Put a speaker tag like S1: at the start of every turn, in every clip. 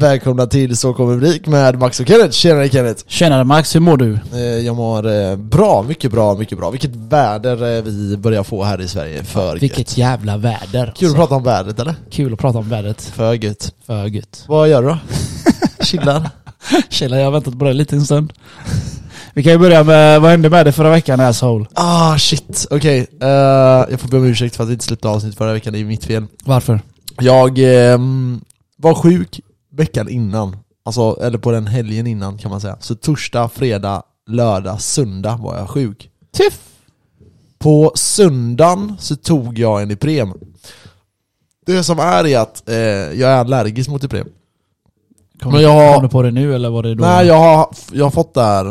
S1: Välkomna till Så kommer publik med Max och Kenneth. Tjenare Kenneth!
S2: Tjenare Max, hur mår du?
S1: Eh, Jag mår eh, bra, mycket bra, mycket bra. Vilket väder eh, vi börjar få här i Sverige. För gött.
S2: Vilket jävla väder.
S1: Kul att
S2: alltså.
S1: prata om vädret eller?
S2: Kul att prata om vädret.
S1: För gött.
S2: För gött.
S1: Vad gör du då? Chillar?
S2: Chilla, jag har väntat på det en liten stund. Vi kan ju börja med, vad hände med dig förra veckan asshole?
S1: Ah shit, okej. Eh, jag får be om ursäkt för att vi inte släppte avsnitt förra veckan, det är mitt fel.
S2: Varför?
S1: Jag ehm, var sjuk veckan innan, alltså, eller på den helgen innan kan man säga. Så torsdag, fredag, lördag, söndag var jag sjuk.
S2: Tiff!
S1: På söndagen så tog jag en Ipren. Det som är är att eh, jag är allergisk mot Ipren.
S2: Kom,
S1: Men jag har-
S2: kom du på det nu eller var det då?
S1: Nej, jag har, jag har fått där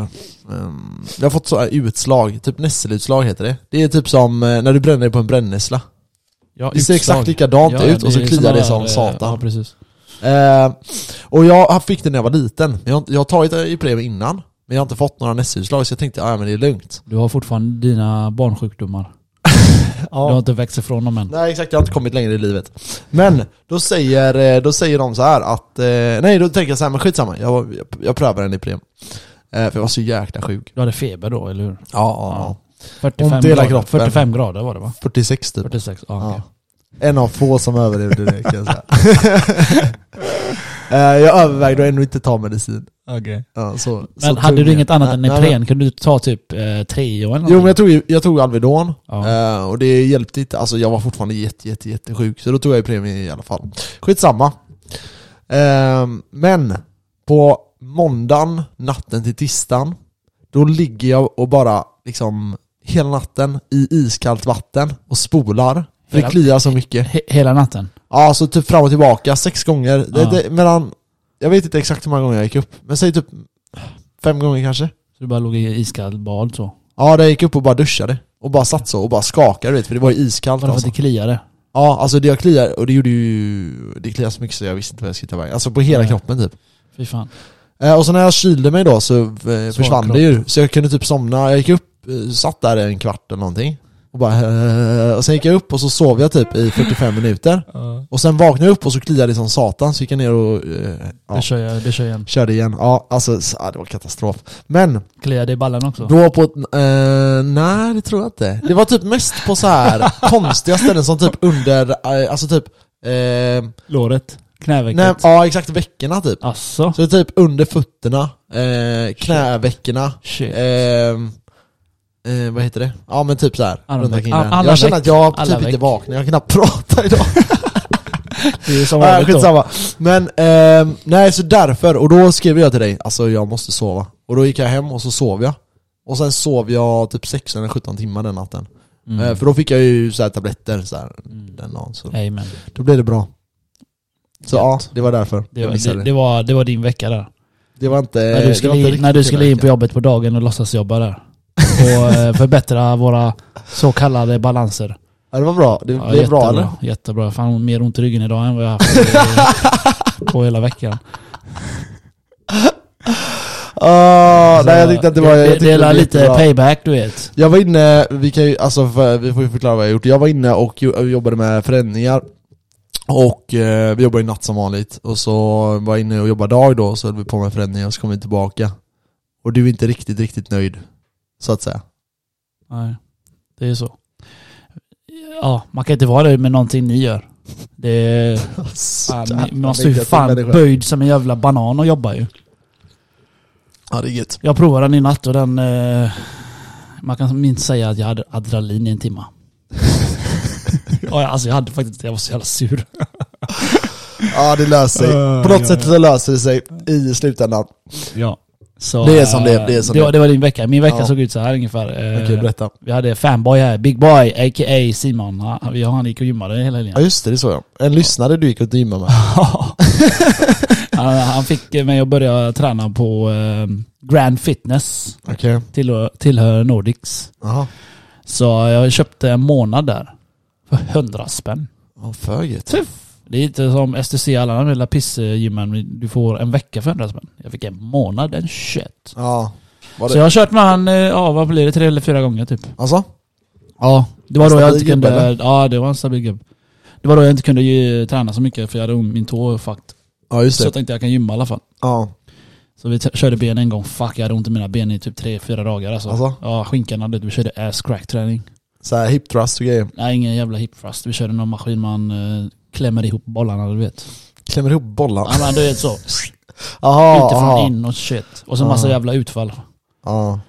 S1: ehm, Jag har fått så här utslag, typ nässelutslag heter det. Det är typ som eh, när du bränner dig på en brännässla.
S2: Ja,
S1: Det ser
S2: utslag.
S1: exakt likadant
S2: Ja,
S1: ut och så
S2: är
S1: kliar det
S2: sådana
S1: som
S2: där, eh,
S1: satan.
S2: Ja, precis.
S1: Eh, och jag fick det när jag var liten. Jag har, inte- jag har tagit Ipren innan, men jag har inte fått några nässelutslag så jag tänkte ja men det är lugnt.
S2: Du har fortfarande dina barnsjukdomar. Du har inte växt ifrån dem än.
S1: Nej exakt, jag har inte kommit längre i livet. Men då säger, eh, då säger de så här att, eh, nej då tänker jag så här, men skitsamma, jag, jag, jag prövar en Ipren. Eh, för jag var så jäkla sjuk.
S2: Du hade feber då, eller hur?
S1: Ja, ja, Ont i
S2: 45
S1: hela
S2: grader.
S1: kroppen.
S2: 45 grader var det va?
S1: ja. 46 typ.
S2: 46, ja.
S1: Ja.
S2: okej.
S1: En av få som överlevde det kan jag säga. Eh, jag övervägde att ändå inte ta medicin. Ja, så,
S2: Men hade du inget annat än Ipren? Kunde du ta typ eh, Treo eller
S1: Jo men
S2: någonting?
S1: jag tog, jag tog Alvedon,
S2: Ja.
S1: eh, och det hjälpte inte. Alltså jag var fortfarande jätte, jätte, jättesjuk, så då tog jag Ipren i alla fall. Skitsamma. Eh, men, på måndagen, natten till tisdagen, då ligger jag och bara liksom hela natten i iskallt vatten och spolar. För det
S2: Hela-
S1: kliar så mycket.
S2: He- Hela natten?
S1: Ja, så typ fram och tillbaka sex gånger. Det,
S2: Ja.
S1: det, mellan, jag vet inte exakt hur många gånger jag gick upp, men säg typ fem gånger kanske.
S2: Så du bara låg i iskallt bad så?
S1: Ja, där jag gick upp och bara duschade. Och bara satt så och bara skakade du vet, för det var ju iskallt
S2: Var det för att
S1: alltså.
S2: det kliade?
S1: Ja, alltså det jag kliar, och det gjorde ju... Det kliar så mycket så jag visste inte vad jag skulle ta vägen. Alltså på hela
S2: Nej.
S1: kroppen typ.
S2: Fy fan.
S1: Eh, Och så när jag kylde mig då så eh, försvann
S2: kropp.
S1: det ju. Så jag kunde typ somna. Jag gick upp, eh, satt där en kvart eller någonting. Och bara... eh, Och sen gick jag upp och så sov jag typ i 45 minuter. Och sen vaknade jag upp och så kliade det som satan, så gick jag ner och... eh, ja.
S2: Det, kör jag, det kör jag igen.
S1: Körde igen, ja alltså s- ja, det var katastrof. Men
S2: Kliar det i ballen också?
S1: då på, eh, nej det tror jag inte. Det var typ mest på så här konstiga ställen som typ under, eh, alltså typ, eh,
S2: Låret? Knävecket?
S1: nej, ja exakt veckorna typ.
S2: Asså?
S1: Så typ under fötterna, eh, knäveckorna,
S2: Shit.
S1: eh, eh, vad heter det? Ja men typ så här
S2: Alla
S1: runt
S2: veck-
S1: omkring
S2: all-
S1: där.
S2: alla
S1: Jag känner
S2: veck-
S1: att jag
S2: alla
S1: typ inte
S2: veck.
S1: vaknar, jag kan knappt prata idag.
S2: Det är ju som
S1: Nej,
S2: vanligt då.
S1: skitsamma. Men, ehm, nej så därför, och då skrev jag till dig, alltså jag måste sova. Och då gick jag hem och så sov jag. Och sen sov jag typ 16 eller 17 timmar den natten.
S2: Mm.
S1: Eh, för då fick jag ju så här tabletter så här,
S2: Mm.
S1: den dagen. Så
S2: Amen.
S1: då blev det bra. Så ja, det var därför
S2: Det,
S1: jag
S2: var,
S1: missade
S2: det,
S1: det.
S2: det, var, det var din vecka där.
S1: Det var inte...
S2: när du skulle,
S1: det var
S2: in,
S1: inte
S2: när du
S1: riktigt
S2: skulle in på
S1: hela
S2: jobbet på dagen och låtsas jobba där. Och eh, förbättra våra så kallade balanser.
S1: veckan. Ja, det var bra. Det
S2: Ja,
S1: blev bra eller?
S2: Jättebra. Fan, mer ont i ryggen idag än vad jag haft eh, på hela veckan.
S1: Ah, nej jag tyckte att det var... Jag
S2: Det,
S1: tyckte
S2: det,
S1: det
S2: är
S1: blev
S2: lite
S1: jättebra.
S2: payback du vet.
S1: Jag var inne, vi kan ju, alltså för, vi får ju förklara vad jag gjort. Jag var inne och jo- jobbade med förändringar och eh, vi jobbade ju natt som vanligt och så var jag inne och jobbade dag då så höll vi på med förändringar och så kom vi tillbaka. Och du är inte riktigt, riktigt nöjd. Så att säga.
S2: Nej, det är så. Ja, man kan inte vara nöjd med någonting ni gör. Det är, fan, ni- man står ju fan böjd som en jävla banan och jobbar ju.
S1: Ja det är gött.
S2: Jag provade den i natt och den... Eh, man kan minst säga att jag hade adrenalin i en timme. ja, alltså jag hade faktiskt Jag var så jävla sur.
S1: Ja det löser sig.
S2: Ah,
S1: På något
S2: ja,
S1: sätt så löser det sig i slutändan.
S2: Ja. Så,
S1: Det är som det
S2: eh,
S1: är, det är som det är.
S2: var, det var din vecka. Min vecka
S1: Ja.
S2: såg ut så här ungefär. Eh,
S1: Okej berätta.
S2: vi hade fanboy här, Big Boy, a.k.a. Simon. Han, vi- han gick och gymmade hela helgen.
S1: Ja just det, det såg jag. En lyssnare du gick och gymmade med.
S2: han, han fick mig att börja träna på eh, Grand Fitness,
S1: Okej.
S2: tillhör, tillhör Nordics.
S1: Jaha.
S2: Så jag köpte en månad där för 100 spänn.
S1: Ja för gött.
S2: Det är inte som STC, alla de där pissgymmen, du får en vecka för 100 spänn. Jag fick en månad, en shit.
S1: Ja. Var
S2: Så
S1: det?
S2: jag har kört med han, eh, ja vad blir det, tre eller fyra gånger typ.
S1: Alltså?
S2: Ja, det var då
S1: Stabil
S2: jag inte
S1: gubbe,
S2: kunde... Ja, det var en stabil gubbe. Det var då jag inte kunde ju, träna så mycket för jag hade ont- min tå fucked.
S1: Ja just
S2: Så jag
S1: det.
S2: tänkte jag kan gymma i alla fall.
S1: Ja.
S2: Så vi t- körde ben en gång, fuck jag hade ont i mina ben i typ tre fyra dagar alltså.
S1: Alltså?
S2: Ja, skinkan hade vi körde ass crack träning.
S1: Så här hip thrust och grejer.
S2: Nej ingen jävla hip thrust, vi körde någon maskin man eh, klämmer ihop bollarna du vet.
S1: Klämmer ihop bollar.
S2: Ja men du vet så,
S1: Aha,
S2: utifrån
S1: aha.
S2: in och shit. Och så massa
S1: Ja.
S2: jävla utfall.
S1: Ja.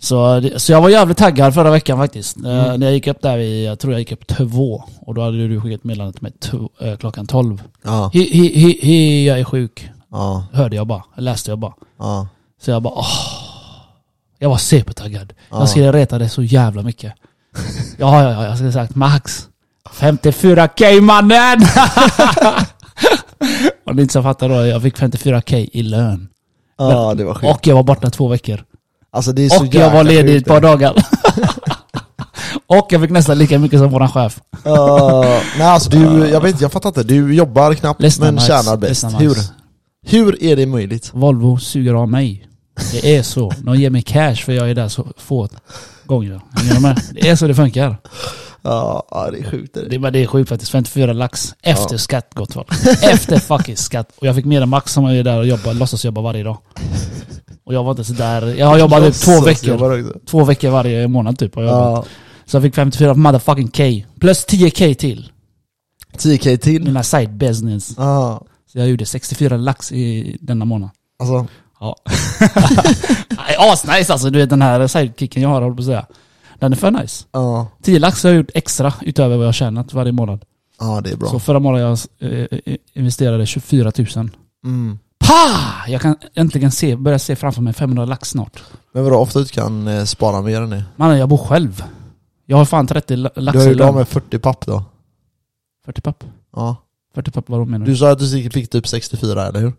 S2: Så, det- så jag var jävligt taggad förra veckan faktiskt. Eh,
S1: Mm.
S2: när jag gick upp där, vid, jag tror jag gick upp två. Och då hade du skickat meddelandet till mig to- eh, klockan tolv.
S1: Ja.
S2: He, he, he, he, jag är sjuk.
S1: Ja.
S2: Hörde jag bara, läste jag bara.
S1: Ja.
S2: Så jag bara åh. Jag var supertaggad.
S1: Ja.
S2: Jag skulle reta det så jävla mycket. Ja, ja, ja, jag skulle sagt max 54k mannen! Om ni inte så fattar då, jag fick 54k i lön.
S1: Ja, det var sjukt.
S2: Och jag var borta två veckor.
S1: Alltså det är så
S2: Och jag var
S1: jäkla
S2: ledig ett
S1: sjukt
S2: par
S1: det.
S2: dagar. och jag fick nästan lika mycket som våran chef.
S1: Ja, nej alltså du, jag vet inte, jag fattar inte. Du jobbar knappt
S2: Lyssna
S1: men
S2: Max.
S1: tjänar bäst.
S2: Lyssna, Max.
S1: Hur? Hur är det möjligt?
S2: Volvo suger av mig. Det är så. De ger mig cash för jag är där så få gånger. Hänger du med? Det är så det funkar.
S1: Ja, ja, det är sjukt. det är det.
S2: Det, men det är sjukt faktiskt. 54 lax. Efter skatt gott folk. Efter fucking skatt. Och jag fick mer än Max som är där och jobbar, låtsas jobba varje dag. Och jag var inte så där. Jag har jobbat typ två
S1: Låtsas
S2: veckor.
S1: jobbar också.
S2: Två veckor varje månad typ. har jag jobbat.
S1: Ja,
S2: Så jag fick 54 motherfucking K. Plus 10K till.
S1: 10k till.
S2: Mina side business.
S1: Ja,
S2: Så jag gjorde 64 lax i denna månad.
S1: alltså.
S2: Ja. Nej, Asnice alltså, du vet den här sidekicken jag har, håller på att säga. Den är för nice.
S1: Ja,
S2: 10 lax har jag gjort extra utöver vad jag har tjänat varje månad.
S1: ja det är bra.
S2: Så förra månaden jag eh, investerade 24 000.
S1: Mm.
S2: Pa! Jag kan äntligen se, börja se framför mig 500 lax snart.
S1: Men vadå, ofta du kan eh, spara mer än det.
S2: Mannen, jag bor själv. Jag har fan 30 la-
S1: Du
S2: lax
S1: har
S2: i
S1: ju av
S2: lön.
S1: med 40 papp då.
S2: 40 papp.
S1: Ja.
S2: 40 papp, vad menar du?
S1: Du sa att du säkert fick typ 64, eller hur?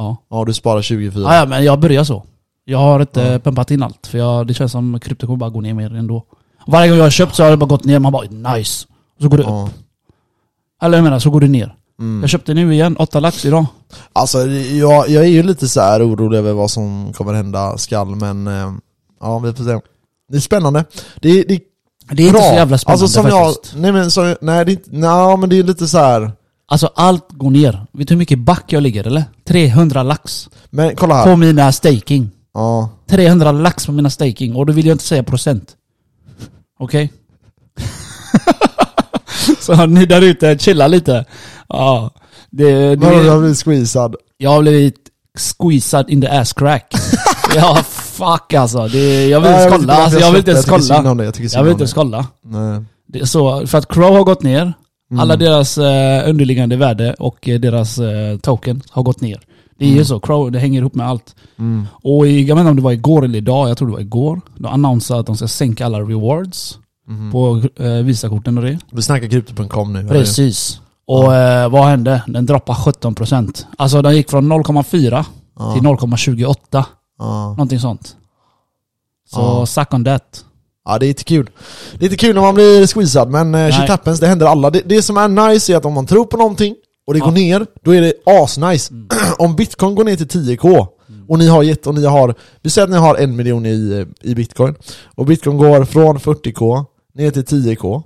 S2: Ja.
S1: Ja, du sparar 24.
S2: Ja, ja, men jag börjar så. Jag har inte
S1: Ja.
S2: pumpat in allt, för jag, det känns som krypto kommer bara gå ner mer ändå. Varje gång jag har köpt så har det bara gått ner, man bara nice. Och så går det upp.
S1: Ja.
S2: Eller jag menar, så går det ner.
S1: Mm.
S2: Jag köpte nu igen, 8 lax idag.
S1: Alltså jag, jag är ju lite så här orolig över vad som kommer hända skall men eh, ja vi får se. Det är spännande. Det, är- det är
S2: Det är
S1: bra.
S2: inte så jävla spännande
S1: alltså, som
S2: faktiskt.
S1: Jag, nej men som, nej, det är inte, nej men det är lite så här.
S2: Alltså allt går ner. Vet du hur mycket back jag ligger eller? 300 lax
S1: Men kolla här.
S2: på mina staking.
S1: Ja.
S2: 300 lax på mina staking och då vill jag inte säga procent. Okej? så ni där ute, chilla lite. Ja. Det, det,
S1: Vadå du har blivit squeezad?
S2: Jag har blivit squeezad in the ass crack. ja, fuck alltså. Det, jag vill
S1: Nej,
S2: inte
S1: vet
S2: kolla. Alltså,
S1: varför
S2: jag vill inte ens
S1: släppte. Jag tycker synd
S2: kolla.
S1: om det. Jag tycker synd
S2: Jag vill
S1: om
S2: inte ens
S1: det.
S2: kolla.
S1: Nej.
S2: Det är så, för att Crow har gått ner. Alla
S1: Mm.
S2: deras eh, underliggande värde och eh, deras eh, token har gått ner. Det är ju så. Crow, det hänger ihop med allt.
S1: Mm.
S2: Och i, jag vet inte om det var igår eller idag, jag tror det var igår. De annonsade att de ska sänka alla rewards
S1: Mhm.
S2: på eh, Visakorten och det.
S1: Vi snackar krypto.com nu. eller?
S2: Precis. Och eh, vad hände? Den droppade 17%. Alltså den gick från 0,4
S1: Ja.
S2: till 0,28.
S1: Ja.
S2: Någonting sånt. Så
S1: Ja.
S2: suck on that.
S1: Ja det är inte kul. Det är inte kul när man blir squeezad men eh, shit
S2: Nej.
S1: happens, det händer alla. Det, det som är nice är att om man tror på någonting och det
S2: Ja. Mm.
S1: går ner, då är det asnice. om bitcoin går ner till 10k och ni har gett, och ni har, vi säger att ni har en miljon i, eh, i bitcoin och bitcoin går från 40k ner till 10k.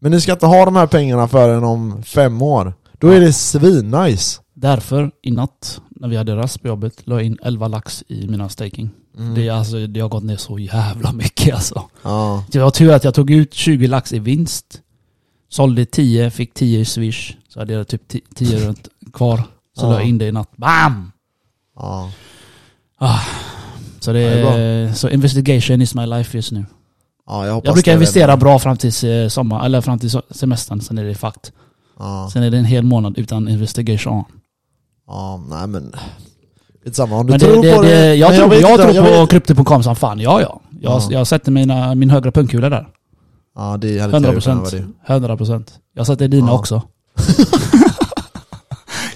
S1: Men ni ska inte ha de här pengarna förrän om fem år. Då är det svinnice.
S2: Därför i natt, när vi hade rast på jobbet, la jag in 11 lax i mina staking.
S1: Mm.
S2: Det, är alltså, det har gått ner så jävla mycket alltså.
S1: Ja.
S2: Det var tur att jag tog ut 20 lax i vinst. Sålde 10, fick 10 i swish. Så hade jag typ 10 10 runt kvar. Så
S1: Ja.
S2: la jag in det i natt. BAM!
S1: ja.
S2: Så, det
S1: Ja, det är
S2: är, så investigation is my life just nu.
S1: ja jag, hoppas
S2: Jag brukar
S1: det är
S2: investera
S1: väl-
S2: bra fram till eh, sommar, eller fram till so- semestern, sen är det fakt.
S1: Ja.
S2: Sen är det en hel månad utan investigation.
S1: ja, nej men... Skitsamma, om du
S2: Men det,
S1: tror
S2: det,
S1: på det...
S2: det, jag
S1: men
S2: tror,
S1: vet
S2: jag
S1: inte,
S2: tror
S1: vet-
S2: på krypto.com som fan, ja ja. Jag,
S1: Ja.
S2: jag sätter mina, min högra pungkula där.
S1: Ja det hade inte
S2: 100
S1: jag gjort om jag var
S2: procent.
S1: du.
S2: 100 procent. Jag satte dina
S1: Ja.
S2: också.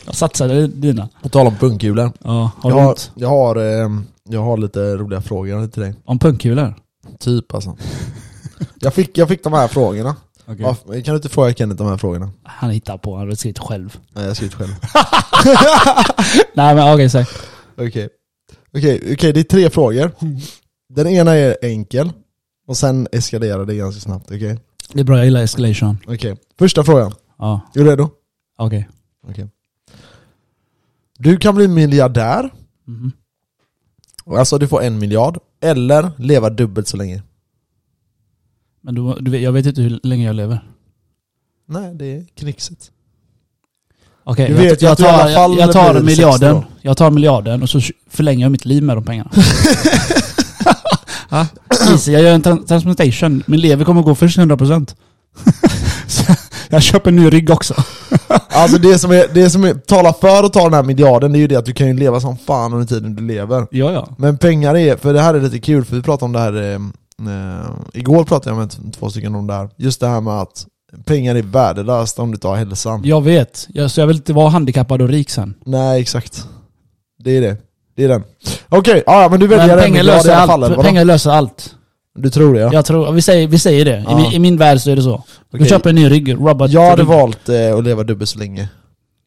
S2: jag satsade dina.
S1: På tal om pungkulor.
S2: Ja, har
S1: Jag
S2: du
S1: har,
S2: något
S1: jag, har, ehm, jag har lite roliga frågor till dig.
S2: om pungkulor?
S1: Typ alltså. jag, fick, jag fick de här frågorna. Varför- Kan du inte fråga Kenneth de här frågorna?
S2: Han hittar på, han har skrivit själv.
S1: Nej jag har skrivit själv.
S2: Nej men okej, säg.
S1: Okej. Okej, okej, det är tre frågor. Den ena är enkel. Och sen eskalerar det ganska snabbt, okej?
S2: Det är bra, jag gillar escalation.
S1: Okej. Första frågan.
S2: Ja,
S1: Är du redo?
S2: okej.
S1: Okej. Du kan bli miljardär,
S2: Mhm.
S1: alltså du får en miljard, eller leva dubbelt så länge.
S2: Men du, du vet, jag vet inte hur länge jag lever.
S1: Nej, det är knixigt.
S2: Okej,
S1: Du
S2: jag,
S1: vet ju
S2: jag,
S1: att du i
S2: tar,
S1: alla fall
S2: jag, jag tar
S1: blir
S2: miljarden.
S1: 60
S2: Jag tar miljarden och så förlänger jag mitt liv med de pengarna. Ja, Easy, jag gör en tra- transplantation. Min lever kommer gå först 100%. Så jag köper en ny rygg också.
S1: Alltså det som, är, det som är, talar för att ta den här miljarden, det är ju det att du kan ju leva som fan under tiden du lever.
S2: Ja, ja.
S1: Men pengar är, för det här är lite kul, för vi pratade om det här eh, eh, Igår pratade jag med t- två stycken om det här Just det här med att pengar är värdelöst om du tar hälsan
S2: Jag vet. Jag, så jag vill inte vara handikappad och rik sen.
S1: Nej exakt Det är det, det är den Okej, ja men du väljer
S2: Men
S1: en
S2: pengar
S1: miljard i
S2: löser
S1: alla fall eller
S2: allt.
S1: vadå?
S2: Pengar löser allt.
S1: Du tror det ja?
S2: Jag tror, vi säger, vi säger det. I,
S1: Ja.
S2: min, I min värld så är det så. Du
S1: Okej.
S2: köper en ny rygg, Robert.
S1: Jag hade
S2: rygg.
S1: valt eh, att leva dubbelt så länge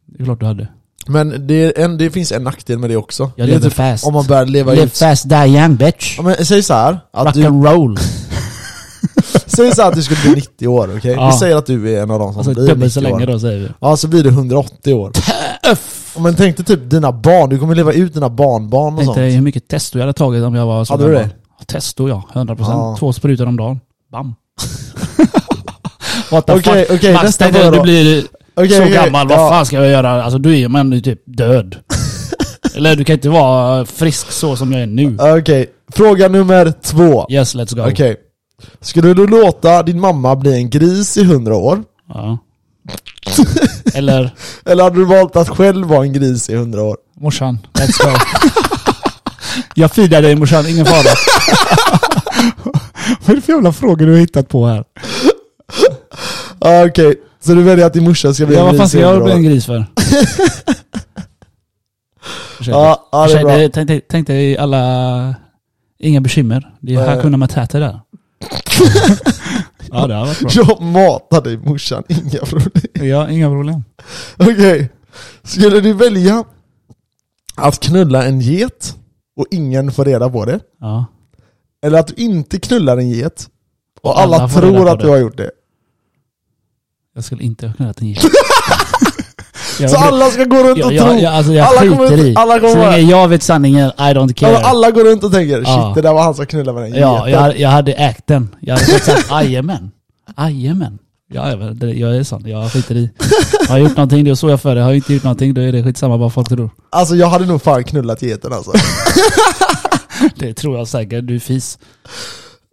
S2: Det är klart du hade.
S1: Men det, är en, det finns en nackdel med det också
S2: Jag
S1: Det är
S2: lever
S1: typ
S2: fast.
S1: Om man börjar leva
S2: Live
S1: ut
S2: fast, die young bitch.
S1: ja, men säg så här att
S2: Rock
S1: du,
S2: and roll.
S1: säg så här att du skulle bli 90 år, okej?
S2: Ja.
S1: Vi säger att du är en av de som
S2: Alltså
S1: blir
S2: dubbelt
S1: 90
S2: så länge
S1: år.
S2: då säger vi.
S1: Ja, så blir du 180 år. Om man tänkte typ dina barn, du kommer leva ut dina barnbarn och
S2: Tänkte dig
S1: sånt.
S2: hur mycket testo jag hade tagit om jag var så
S1: Hade du
S2: gammal.
S1: det?
S2: Ja, Testo ja, 100%.
S1: Ja.
S2: Två sprutor om dagen. Bam. What the
S1: Okej,
S2: fuck?
S1: okej,
S2: Max,
S1: nästa
S2: tänk dig,
S1: fråga
S2: du
S1: då.
S2: blir
S1: Okej,
S2: så
S1: okej,
S2: gammal,
S1: ja.
S2: vad fan ska jag göra? Alltså du är man du är typ död. Eller du kan inte vara frisk så som jag är nu.
S1: Okej, fråga nummer två.
S2: Yes, let's go.
S1: Okej. Skulle du låta din mamma bli en gris i 100 år?
S2: Ja. Eller
S1: Eller hade du valt att själv vara en gris i 100 år?
S2: morsan, let's go. jag fidar dig morsan, ingen fara. vad är det för jävla frågor du har hittat på här?
S1: Ah, Okej, så du väljer att din morsa ska bli
S2: Ja,
S1: en gris
S2: vad fan ska
S1: i
S2: jag
S1: 100
S2: bli en
S1: år?
S2: gris för? Ursäkta.
S1: Ja, ja, det är
S2: Ursäkta,
S1: bra.
S2: tänk, dig- tänk dig alla... Inga bekymmer. Det är
S1: Nej.
S2: Hakuna Matata där. ja, det har varit bra.
S1: Jag matar dig morsan, inga problem.
S2: Ja, inga problem.
S1: Okej. Skulle du välja att knulla en get och ingen får reda på det?
S2: Ja.
S1: Eller att du inte knullar en get och alla,
S2: Alla får reda
S1: tror
S2: på
S1: att du
S2: det.
S1: har gjort det.
S2: Jag skulle inte ha kunnat en gift.
S1: Så alla ska gå runt
S2: jag,
S1: och
S2: jag,
S1: tro.
S2: jag, alltså, jag
S1: alla
S2: skiter
S1: kommer inte-
S2: i.
S1: alla kommer
S2: Så
S1: vara-
S2: länge jag vet sanningen, I don't care.
S1: Alla, Alltså, alla går runt och tänker shit
S2: Ja.
S1: det där var han som knullade med den
S2: ja,
S1: geten.
S2: jag, jag hade ägt den. Jag hade fått sagt jajamän. Jajamän. Ja, jag vet, det- jag är sån. Jag skiter i. Har jag gjort någonting, då står jag för det. Har jag inte gjort någonting, då är det skitsamma vad folk tror.
S1: Alltså jag hade nog fan knullat geten alltså.
S2: Det tror jag säkert. Du är fis.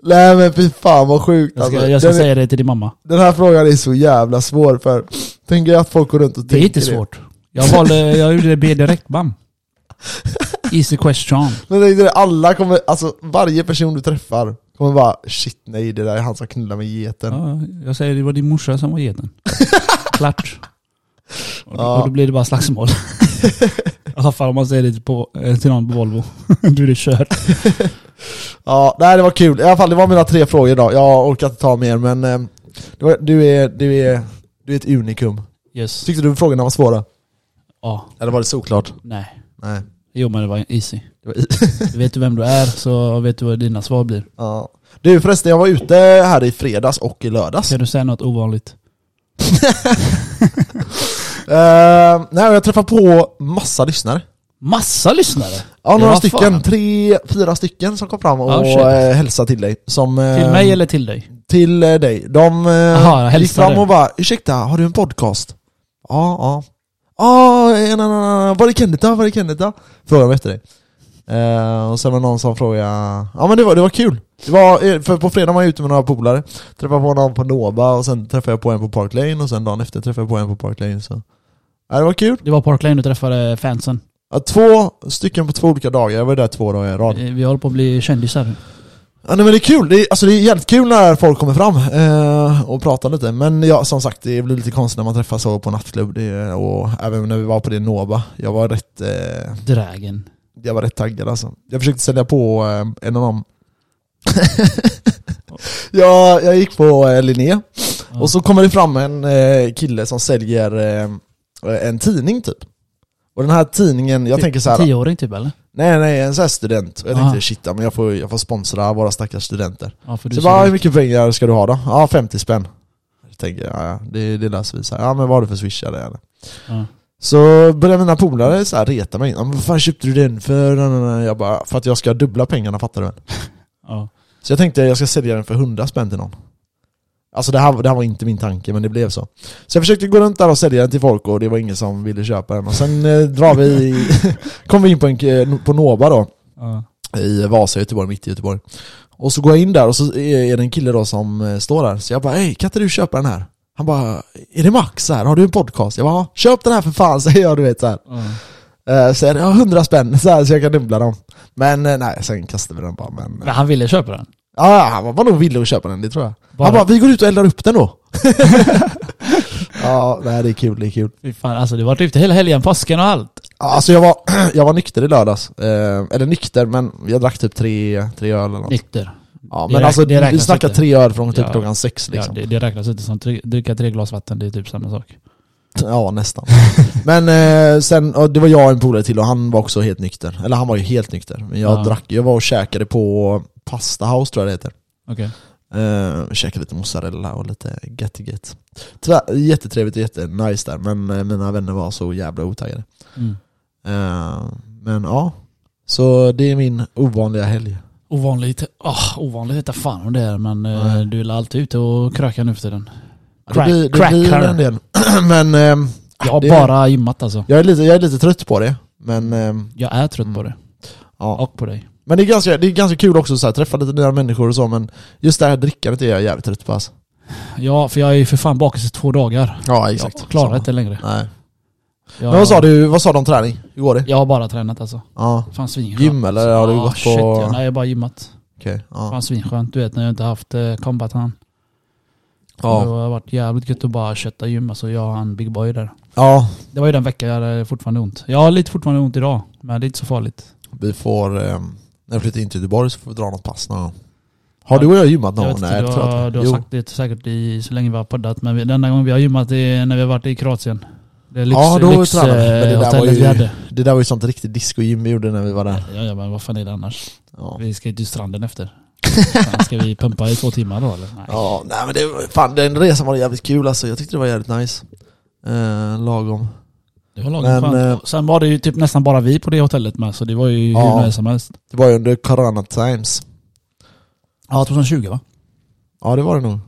S1: Nej men fy fan vad sjukt
S2: Jag ska,
S1: alltså.
S2: jag ska
S1: den,
S2: säga det till din mamma.
S1: den här frågan är så jävla svår för tänker jag att folk går runt och
S2: Det är
S1: tänker
S2: inte svårt. Jag, valde, jag gjorde B direkt, bam. Easy question.
S1: Men tänk dig det, alla kommer, alltså varje person du träffar kommer bara shit nej det där är han som knullar med geten.
S2: Ja, jag säger det var din morsa som var geten. Klart. Och då,
S1: Ja.
S2: och då blir det bara slagsmål. I alla fall om man säger det till, på, eh, till någon på Volvo. du är det kört.
S1: Ja, nej det var kul. I alla fall, det var mina tre frågor idag. Jag orkar inte ta mer men eh, det var- du är, du är, du är ett unikum.
S2: Yes.
S1: Tyckte du frågorna var svåra?
S2: Ja,
S1: Eller var det såklart?
S2: nej.
S1: Nej.
S2: Jo men det var easy.
S1: Det var i-
S2: Vet du vem du är så vet du vad dina svar blir.
S1: ja. Du förresten, jag var ute här i fredags och i lördags.
S2: Kan du säga något ovanligt?
S1: Eh, nej, jag träffade på massa lyssnare.
S2: Massa lyssnare!
S1: Ja, några
S2: Ja,
S1: stycken.
S2: fan.
S1: Tre, fyra stycken som kom fram och
S2: Oh, shit.
S1: eh, hälsade till dig. Som, eh,
S2: Till mig eller till dig?
S1: Till eh, dig. De eh,
S2: Aha,
S1: gick
S2: hälsade.
S1: fram och bara 'Ursäkta, har du en podcast?' Ja, ja. Ja, en en annan. Var är Kenneth då? Var är Kenneth då? Frågade de efter dig. Eh, och sen var det någon som frågade... Ja men det var, det var kul. Det var, eh, för på fredag var jag ute med några polare. Träffade på någon på Nova och sen träffade jag på en på Park Lane och sen dagen efter träffade jag på en på Park Lane. Så. Ja, det var kul.
S2: Det var Park Lane du träffade fansen.
S1: Ja, två stycken på två olika dagar. Jag var där två dagar i rad.
S2: Eh, Vi håller på att bli kändisar nu.
S1: Ja, nej, men det är kul, det är, alltså, det är jävligt kul när folk kommer fram eh, och pratar lite Men ja, som sagt, det blir lite konstigt när man träffas så på nattklubb det, och även när vi var på det Nova Jag var rätt, eh,
S2: Drägen.
S1: jag var rätt taggad alltså Jag försökte sälja på eh, en av dem jag, jag gick på eh, Linné
S2: Ja.
S1: och så kommer det fram en eh, kille som säljer eh, en tidning typ Och den här tidningen, jag tänker så här.
S2: Tioåring typ eller?
S1: Nej nej, en sån här student. Och jag
S2: Ah.
S1: tänkte shit, ja, men jag får, jag får sponsra våra stackars studenter.
S2: Ja, för du
S1: Så
S2: ser
S1: bara,
S2: ut-
S1: hur mycket pengar ska du ha då? Ja, 50 spänn. Jag tänker, ja, ja det, det löser vi så här. Ja men vad har du för swishare eller?
S2: Ja.
S1: Så började mina polare så här reta mig. "Ja, men Vad fan köpte du den för? Na, na, na. Jag bara, för att jag ska dubbla pengarna fattar du väl?
S2: Ja.
S1: Så jag tänkte jag ska sälja den för 100 spänn till någon. Alltså det här, det här var inte min tanke, men det blev så. Så jag försökte gå runt där och sälja den till folk och det var ingen som ville köpa den. Och sen eh, drar vi, kom vi in på, en, k- på Nova då,
S2: Ja.
S1: i Vasa, Göteborg, mitt i Göteborg. Och så går jag in där och så är är det en kille då som eh, står där. Så jag bara, hej kan inte du köpa den här? Han bara, är det Max här? Har du en podcast? Jag bara, "Ja, köp den här för fan säger jag du vet så här.
S2: Ja.
S1: Eh, Så jag, ja 100 spänn så, här, så jag kan dubbla dem. Men eh, nej, sen kastade vi den bara. Men, eh,
S2: Men han ville köpa den.
S1: Ja, ja, han var- var nog villig att köpa den, det tror jag.
S2: Bara-
S1: Han bara, vi går ut och eldar upp den då. ja, nej det är kul, det är kul.
S2: Fy fan, alltså det var ute hela helgen, påsken och allt.
S1: Ja, Alltså jag var, jag var nykter i lördags. Eh, eller nykter, men jag drack typ tre, tre öl eller något.
S2: Nykter.
S1: Ja,
S2: det
S1: men
S2: räk-
S1: alltså
S2: det
S1: vi
S2: räknas
S1: snackar
S2: inte.
S1: tre öl från typ
S2: Ja.
S1: klockan sex liksom.
S2: Ja, det, det räknas inte som tre, dricka tre glas vatten, det är typ samma sak.
S1: Ja, nästan. Men eh, sen, och det var jag och en polare till och han var också helt nykter. Eller han var ju helt nykter. Men jag
S2: Ja.
S1: drack, jag var och käkade på Pasta House tror jag det heter.
S2: Okej.
S1: Eh, käkade lite mozzarella och lite gettiget. Tyvärr, jättetrevligt och jättenice där, men eh, mina vänner var så jävla otaggade.
S2: Mm.
S1: Eh, men ja, så det är min ovanliga helg.
S2: Ovanligt, oh, ovanligt vete fan om det är men eh,
S1: Nej.
S2: du är alltid ute och krökar nu för tiden.
S1: det
S2: Crack-
S1: blir, det
S2: cracker.
S1: blir en del. men ehm,
S2: Jag har
S1: det-
S2: bara gymmat alltså.
S1: jag, är lite, jag är lite trött på det. Men, ehm,
S2: Jag är trött på
S1: Mm.
S2: det.
S1: ja.
S2: Och på dig.
S1: men det, är ganska, det är ganska kul också att träffa lite nya människor och så, men just det här drickandet är jag jävligt trött på alltså.
S2: Ja, för jag är ju för fan bakis i två dagar.
S1: Ja,
S2: Jag klarar inte längre.
S1: Nej.
S2: Jag,
S1: Men vad sa du, vad sa de om träning? Hur går det?
S2: Jag har bara tränat alltså.
S1: Ja.
S2: Fan svinskönt.
S1: Gym eller har du
S2: Ja,
S1: gått på...
S2: shit, ja. Nej, jag har bara gymmat.
S1: Okej, ja.
S2: Fan svinskönt. Du vet när jag inte haft eh, combat hand.
S1: Ja.
S2: Det har varit jävligt gött att bara kötta gym. Alltså jag och han Big Boy där.
S1: ja,
S2: Det var ju den veckan jag hade fortfarande ont. Jag har lite fortfarande ont idag, men det är inte så farligt.
S1: Vi får, eh, när vi flyttar in till Göteborg så får vi dra något pass någon gång. Har du och jag gymmat någon
S2: jag
S1: gång?
S2: vet inte,
S1: det
S2: du har,
S1: inte.
S2: du har
S1: Jo.
S2: sagt det säkert i, så länge vi har poddat, men vi, den enda gången vi har gymmat är när vi har varit i Kroatien. Det är lyx,
S1: Ja, då
S2: lyx,
S1: tränade vi. Men det där
S2: eh,
S1: var
S2: hotellet
S1: ju-
S2: vi hade.
S1: Det där var ju sånt riktigt discogym vi gjorde när vi var där.
S2: Ja, ja, men vad fan är det annars?
S1: Ja,
S2: Vi ska ju till stranden efter. Fan, ska vi pumpa i två timmar då eller? Nej.
S1: ja nej men det, var- fan den resan var jävligt kul alltså. Jag tyckte det var jävligt nice. Eh, lagom.
S2: Det var lagom
S1: Men,
S2: skönt.
S1: eh,
S2: Sen var det ju typ nästan bara vi på det hotellet med, så det var ju
S1: Ja.
S2: hur nice som helst.
S1: Det var ju under corona times.
S2: Ja, 2020 va?
S1: Ja det var det nog.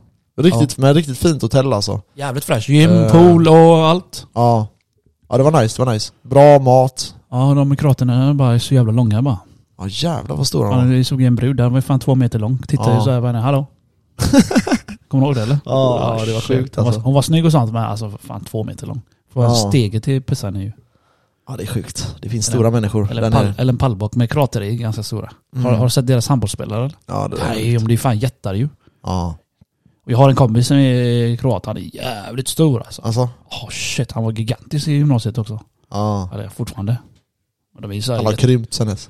S1: Riktigt, men riktigt fint hotell alltså.
S2: Jävligt fräsch. Gym,
S1: Eh.
S2: pool och allt.
S1: Ja. Ja det var nice, det var nice. Bra mat.
S2: Ja, de kroaterna är bara så jävla långa bara.
S1: Ja jävlar vad stora de var.
S2: Fan, vi såg ju en brud, den var ju fan två meter lång. Tittade
S1: Ja.
S2: ju såhär på henne, hallå? Kommer du ihåg det eller?
S1: Ja, det var
S2: shit.
S1: sjukt,
S2: Hon var,
S1: alltså.
S2: hon var snygg och sånt men alltså fan två meter lång. För
S1: Ja.
S2: steget till pissan är ju.
S1: Ja det är sjukt. Det finns
S2: Eller-
S1: stora människor.
S2: Eller, en
S1: Eller,
S2: pall, eller en pallbock med krater är ganska stora. Har, har du sett deras handbollsspelare? eller?
S1: Ja, Mm. det,
S2: Nej, de är ju fan jättar ju.
S1: ja.
S2: Och jag har en kompis som är kroat, han är jävligt stor alltså.
S1: Alltså,
S2: Åh shit, han var gigantisk i gymnasiet också.
S1: ja.
S2: Eller fortfarande. Men de är ju så här
S1: Han har
S2: jätte-
S1: krympt sen dess.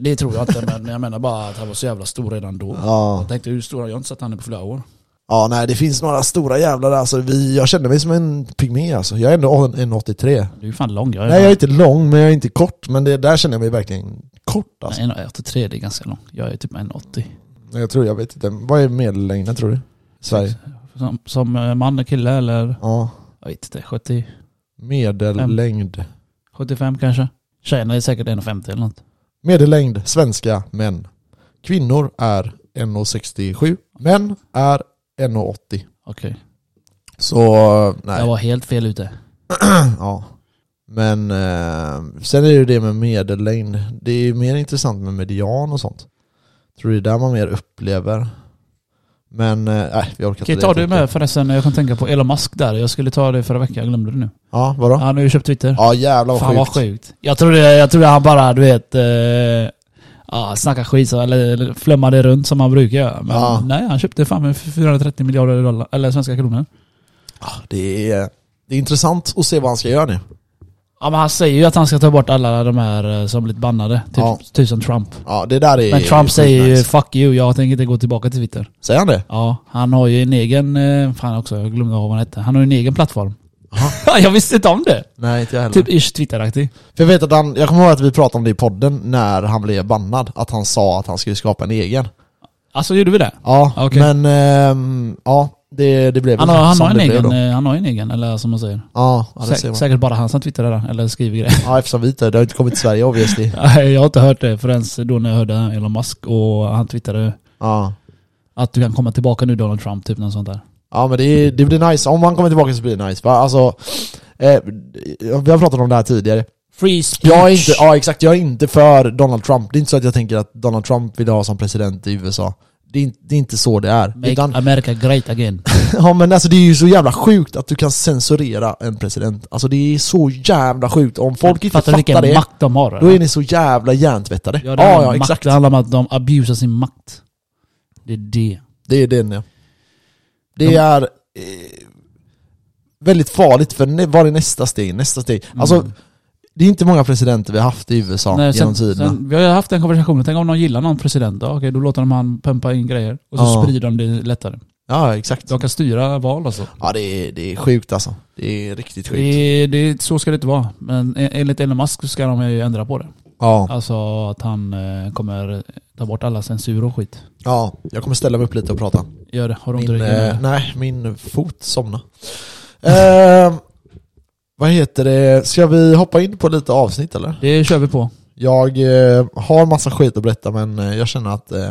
S2: det tror jag inte, men jag menar bara att han var så jävla stor redan då.
S1: Ja.
S2: Jag tänkte hur stor, jag har inte sett han på flera år.
S1: Ja, nej det finns några stora jävlar där. alltså, vi, Jag känner mig som en pygmé alltså. Jag är ändå en- en 83.
S2: Du är fan lång. Jag är
S1: Nej jag är inte lång men jag är inte kort. Men det där känner jag mig verkligen kort alltså.
S2: Nej, 1,83 det är ganska lång. Jag är typ 1,80.
S1: Nej. Jag tror, jag vet inte. Vad är medellängden tror du? I Sverige?
S2: Som, som eh, man och kille eller?
S1: Ja.
S2: Jag vet inte, 70,
S1: Medellängd.
S2: 75 kanske? Tjejerna är säkert 1,50 eller något.
S1: Medellängd, svenska män. Kvinnor är 1,67. Män är 1,80.
S2: Okej.
S1: Så nej.
S2: Jag var helt fel ute.
S1: Ja. Men eh, sen är det ju det med medellängd. Det är ju mer intressant med median och sånt. Tror det är där man mer upplever. Men eh, nej, vi orkar
S2: Okej,
S1: inte
S2: tar
S1: det,
S2: du
S1: tänkte jag.
S2: med förresten, jag kan tänka på Elon Musk där. Jag skulle ta det förra veckan, jag glömde det nu.
S1: Ja, vadå? Ja,
S2: Han har ju köpt Twitter.
S1: jävlar vad
S2: Fan
S1: sjukt.
S2: vad sjukt. Jag trodde, jag trodde han bara, du vet, eh, ja, snacka skit så, eller, eller flummade runt som han brukar göra. Men
S1: Ja.
S2: nej, han köpte fan med 430 miljarder dollar, eller svenska kronor.
S1: Ja, det, är, det är intressant att se vad han ska göra nu.
S2: Ja men han säger ju att han ska ta bort alla de här eh, som blivit bannade. Typ
S1: Ja.
S2: tusen Trump.
S1: Ja, det där är
S2: Men Trump
S1: skitnice.
S2: säger ju 'fuck you, jag tänker inte gå tillbaka till Twitter'
S1: Säger han det?
S2: Ja, han har ju en egen, eh, fan också, jag glömde vad han hette. Han har ju en egen plattform. jag visste inte om det!
S1: Nej, inte jag heller.
S2: Typ ish Twitteraktig.
S1: För jag vet att han, jag kommer ihåg att vi pratade om det i podden när han blev bannad. Att han sa att han skulle skapa en egen.
S2: Alltså gjorde vi det?
S1: Ja,
S2: Okej.
S1: men ehm, ja, Det, det blev
S2: Han
S1: väl
S2: har, han,
S1: som
S2: har en
S1: det blev
S2: egen,
S1: då.
S2: eh, han har ju en egen, eller som man säger.
S1: Ja, ja, det
S2: Sä-
S1: ser man.
S2: säkert bara han som twittrar där, eller skriver grejer.
S1: Ja, eftersom vi inte, det har inte kommit till Sverige obviously.
S2: Nej, jag har inte hört det förrän då när jag hörde Elon Musk och han twittrade
S1: Ja.
S2: att du kan komma tillbaka nu Donald Trump, typ något sånt där.
S1: Ja men det, det blir nice, om han kommer tillbaka så blir det nice. Va? Alltså, eh, vi har pratat om det här tidigare.
S2: Free speech!
S1: Jag är inte, ja exakt, jag är inte för Donald Trump. Det är inte så att jag tänker att Donald Trump vill ha som president i USA. Det är, inte- det är inte så det är.
S2: Make
S1: Utan,
S2: America great again.
S1: ja, men alltså, det är ju så jävla sjukt att du kan censurera en president. Alltså det är så jävla sjukt. Om folk inte fattar,
S2: fattar du vilken
S1: det,
S2: makt de har?
S1: då är ni så jävla hjärntvättade.
S2: ja,
S1: Ja,
S2: det handlar om
S1: ja
S2: makt.
S1: exakt.
S2: Det handlar om att de abusar sin makt. Det är det.
S1: Det är den ja. Det
S2: De-
S1: är eh, väldigt farligt för nä- vad är nästa steg? Nästa steg. Alltså, det är inte många presidenter vi har haft i USA
S2: Mm. Nej,
S1: genom tiderna.
S2: sen, vi har ju haft den konversationen, tänk om någon gillar någon president, ja, okej då låter de han pumpa in grejer. Och så
S1: Ja.
S2: sprider de det lättare.
S1: ja, exakt.
S2: De kan styra val alltså.
S1: Ja, det är, det är sjukt alltså. Det är riktigt
S2: Det,
S1: sjukt.
S2: är- det, är- så ska det inte vara. Men en- enligt Elon Musk så ska de ju ändra på det.
S1: Ja.
S2: Alltså att han eh, kommer ta bort alla censur och skit.
S1: ja, jag kommer ställa mig upp lite och prata.
S2: Gör det. Har du ont i
S1: Min,
S2: ryggen?
S1: eh,
S2: eller?
S1: nej, min fot somna. Ehm, vad heter det? Ska vi hoppa in på lite avsnitt eller?
S2: Det kör vi på.
S1: Jag eh, har massa skit att berätta men eh, jag känner att eh,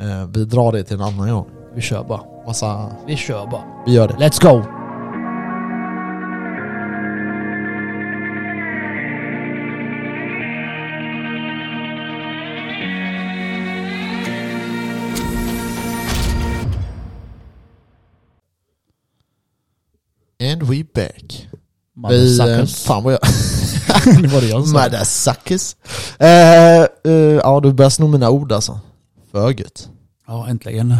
S1: eh, vi drar det till en annan gång.
S2: Vi kör bara.
S1: Massa,
S2: Vi kör bara.
S1: vi eh, gör det.
S2: Let's go!
S1: And we back. Vi, eh,
S2: Mothersuckers.
S1: fan vad jag...
S2: det var det jag som sa.
S1: Mothersuckers. Eh, eh, ja, du börjar sno mina ord alltså. För gött.
S2: Ja, äntligen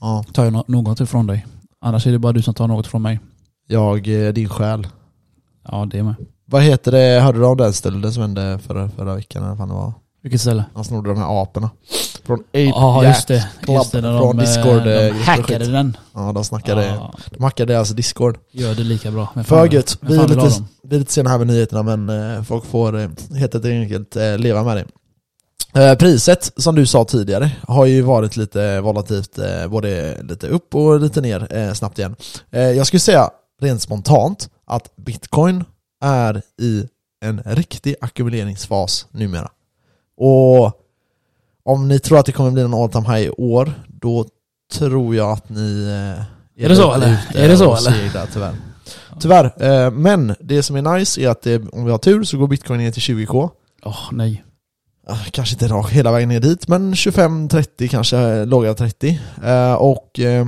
S1: Ja,
S2: tar jag no- något ifrån dig. Annars är det bara du som tar något från mig.
S1: jag, eh, din själ.
S2: Ja, det med.
S1: Vad heter det, hörde du om den stölden som hände förra, förra veckan? Eller vad fan det var?
S2: Vilket ställe?
S1: Han snodde de här aporna. Från Ape
S2: Ja,
S1: Jack
S2: just det.
S1: Club
S2: Just det när de,
S1: från
S2: eh,
S1: Discord.
S2: de
S1: eh,
S2: hackade
S1: skit.
S2: den.
S1: Ja, de snackade.
S2: Ja,
S1: De hackade alltså discord.
S2: gör det lika bra. Vem fan-
S1: För gött.
S2: vem
S1: Vi är
S2: fan vill ha
S1: lite,
S2: dem?
S1: vi är lite sena här med nyheterna men eh, folk får eh, helt enkelt eh, leva med det. Eh, priset som du sa tidigare har ju varit lite volatilt, eh, både lite upp och lite ner eh, snabbt igen. Eh, jag skulle säga rent spontant att bitcoin är i en riktig ackumuleringsfas numera. Och om ni tror att det kommer bli någon all time high i år, då tror jag att ni eh,
S2: Är det så,
S1: redan
S2: eller?
S1: ute
S2: Är det så,
S1: och
S2: eller?
S1: seglar, tyvärr. Tyvärr, eh, men det som är nice är att det, om vi har tur så går bitcoin ner till 20k.
S2: Åh, nej.
S1: Ah, Kanske inte rakt hela vägen ner dit, men 25-30 kanske, eh, låga 30. Eh, Och eh,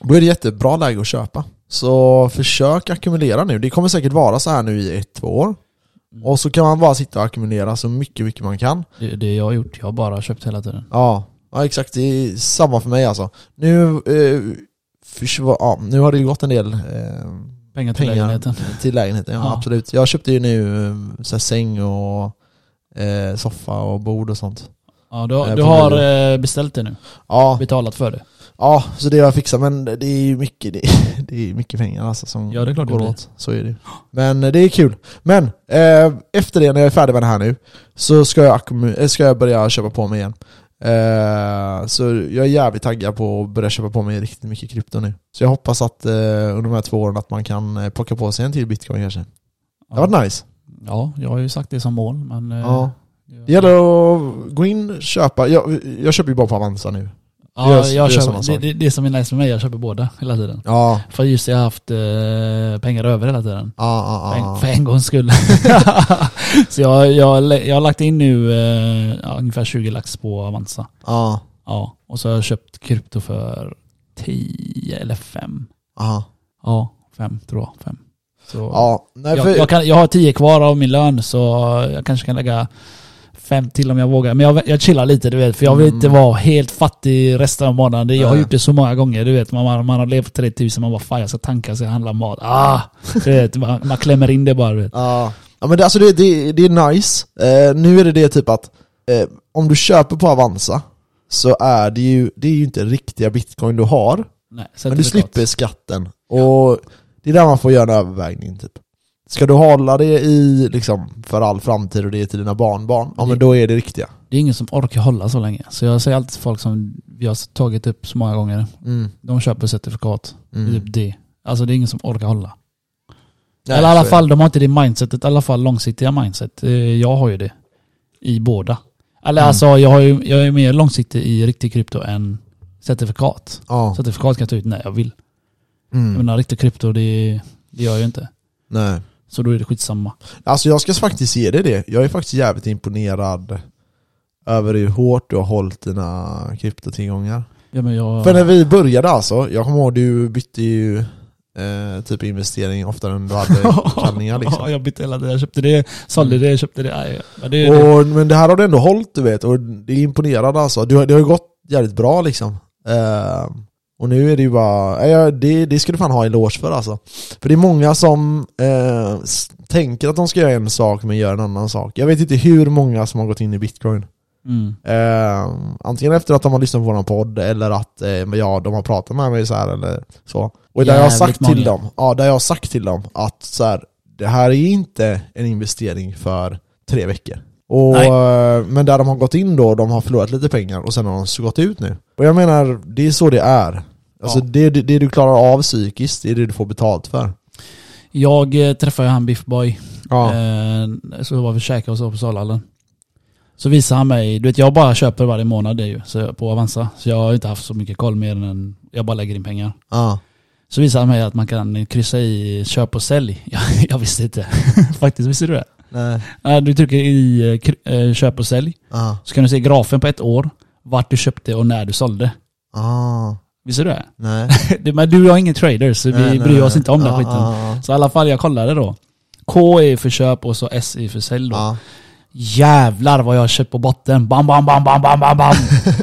S1: då är det jättebra läge att köpa. Så försök ackumulera nu. Det kommer säkert vara så här nu i ett, två år. Och så kan man bara sitta och ackumulera så mycket, mycket man kan.
S2: Det, det jag har gjort. Jag har bara köpt hela tiden.
S1: Ja, ja exakt. Det är samma för mig alltså. Nu, eh, försva- ja, nu har det ju gått en del eh,
S2: Pengar till
S1: Pengar.
S2: lägenheten.
S1: till lägenheten, ja,
S2: Ja.
S1: absolut. Jag köpte ju nu eh, så här, säng och eh, soffa och bord och sånt.
S2: Ja, du, har-
S1: Eh,
S2: du
S1: på
S2: har eh, beställt det nu.
S1: Ja,
S2: Betalat för det.
S1: ja så det har jag fixat. Men det är ju mycket, det, det är mycket pengar alltså som
S2: Ja, det är klart det
S1: går
S2: blir.
S1: åt. Så är det ju. Men eh, det är kul. Men eh, efter det, när jag är färdig med det här nu, så ska jag, ackumu- eh, ska jag börja köpa på mig igen. Eh, så jag är jävligt taggad på att börja köpa på mig riktigt mycket krypto nu. Så jag hoppas att eh, under de här två åren att man kan eh, plocka på sig en till bitcoin kanske. Det
S2: Ja.
S1: har varit nice.
S2: Ja, jag har ju sagt det som mål, men... eh,
S1: Ja. Det gäller att gå in, köpa. Jag, jag köper ju bara på Avanza nu.
S2: Ja,
S1: Det
S2: jag,
S1: är- det är
S2: köper,
S1: samma sak.
S2: det, det, det som är nice med mig, jag köper båda hela tiden.
S1: Ja,
S2: För just jag har haft eh, pengar över hela tiden.
S1: ja,
S2: För en,
S1: ja.
S2: för en gångs skull. så jag, jag, har lä- jag har lagt in nu eh, ja, ungefär 20 lax på Avanza.
S1: Ja,
S2: Ja, och så har jag köpt krypto för 10 eller 5.
S1: ja.
S2: Ja, 5 tror jag. 5. Så
S1: Ja, nej
S2: jag,
S1: för...
S2: jag, kan, jag har 10 kvar av min lön så jag kanske kan lägga 5 till om jag vågar. Men jag, jag chillar lite du vet, för jag vill inte
S1: Mm.
S2: vara helt fattig resten av månaden. Det- Jag har
S1: Nej.
S2: gjort det så många gånger, du vet. Man, man har levt på 3000, man bara fan jag ska tanka, så jag handlar mat. Ah! Du vet, man, man klämmer in det bara du vet.
S1: Ja. Ja men det, alltså det, det, det är nice. Eh, nu är det det typ att eh, om du köper på Avanza så är det ju, det är ju inte riktiga bitcoin du har.
S2: Nej,
S1: Men du slipper skatten. Och det är där man får göra en övervägning typ. Ska du hålla det i liksom för all framtid och det är till dina barnbarn, ja men då är det riktiga.
S2: Det är ingen som orkar hålla så länge. Så jag säger alltid till folk som vi har tagit upp så många gånger.
S1: Mm.
S2: De köper certifikat. Det är
S1: Mm.
S2: Typ det. Alltså det är ingen som orkar hålla.
S1: Nej,
S2: Eller i alla
S1: så är
S2: fall, de har inte det mindsetet. I alla fall långsiktiga mindset. Eh, Jag har ju det. I båda. Eller
S1: Mm.
S2: alltså jag, har ju, jag är mer långsiktig i riktig krypto än certifikat.
S1: det. Ja.
S2: Certifikat kan jag ta ut när jag vill. Jag
S1: Mm.
S2: menar riktig krypto, det, det gör jag ju inte.
S1: Nej.
S2: Så då är det skitsamma.
S1: Alltså jag ska faktiskt ge dig det. Jag är faktiskt jävligt imponerad över hur hårt du har hållit dina kryptotillgångar.
S2: Ja, men jag,
S1: För när vi började alltså, jag kommer ihåg du bytte ju eh, typ investering oftare än du hade kallningar liksom. Mm.
S2: Ja, jag bytte hela det. Jag köpte det, sålde det, köpte det. Aj, ja, det, är det.
S1: Och, men det här har du ändå hållit du vet, och det är imponerande alltså. Du, har- det har ju gått jävligt bra liksom. Eh, och nu är det ju bara, nej, jag- det, det ska du fan ha eloge för alltså. För det är många som eh, s- tänker att de ska göra en sak men gör en annan sak. Jag vet inte hur många som har gått in i bitcoin.
S2: Mm.
S1: Eh, antingen efter att de har lyssnat på våran podd eller att eh, men ja, de har pratat med mig så här eller så. Och där jag har
S2: Jävligt
S1: sagt till
S2: många.
S1: dem, ja, där jag har sagt till dem att så här, det här är inte en investering för tre veckor. Och,
S2: Nej.
S1: eh, men där de har gått in då, de har förlorat lite pengar och sen har de så gått ut nu. Och jag menar, det är så det är. Alltså
S2: Ja.
S1: det, det, det du klarar av psykiskt, det är det du får betalt för.
S2: Jag eh, träffade ju han Biffboy.
S1: Ja.
S2: Eh, så var vi och käkade och så på Salhallen. Så visade han mig, du vet jag bara köper varje månad det ju, så jag- på Avanza. Så jag har inte haft så mycket koll mer än jag bara lägger in pengar.
S1: Ja.
S2: Så visade han mig att man kan kryssa i köp och sälj. Jag, jag visste inte. Faktiskt, visste du det?
S1: Nej. ah,
S2: Ja, Du trycker i eh, kry- eh, köp och sälj.
S1: Ja.
S2: Så kan du se grafen på ett år, vart du köpte och när du sålde.
S1: Ja.
S2: Visste du det?
S1: ah, Nej.
S2: Det- Men du är ingen trader så vi
S1: Nej, nej,
S2: bryr
S1: nej.
S2: oss
S1: Ah,
S2: inte om den
S1: Ja,
S2: skiten.
S1: ja, ja.
S2: Så i alla fall, jag kollade då. K är för köp och så S är för sälj då.
S1: Ja.
S2: Jävlar vad jag har köpt på botten. Bam, bam, bam, bam, bam, bam, bam.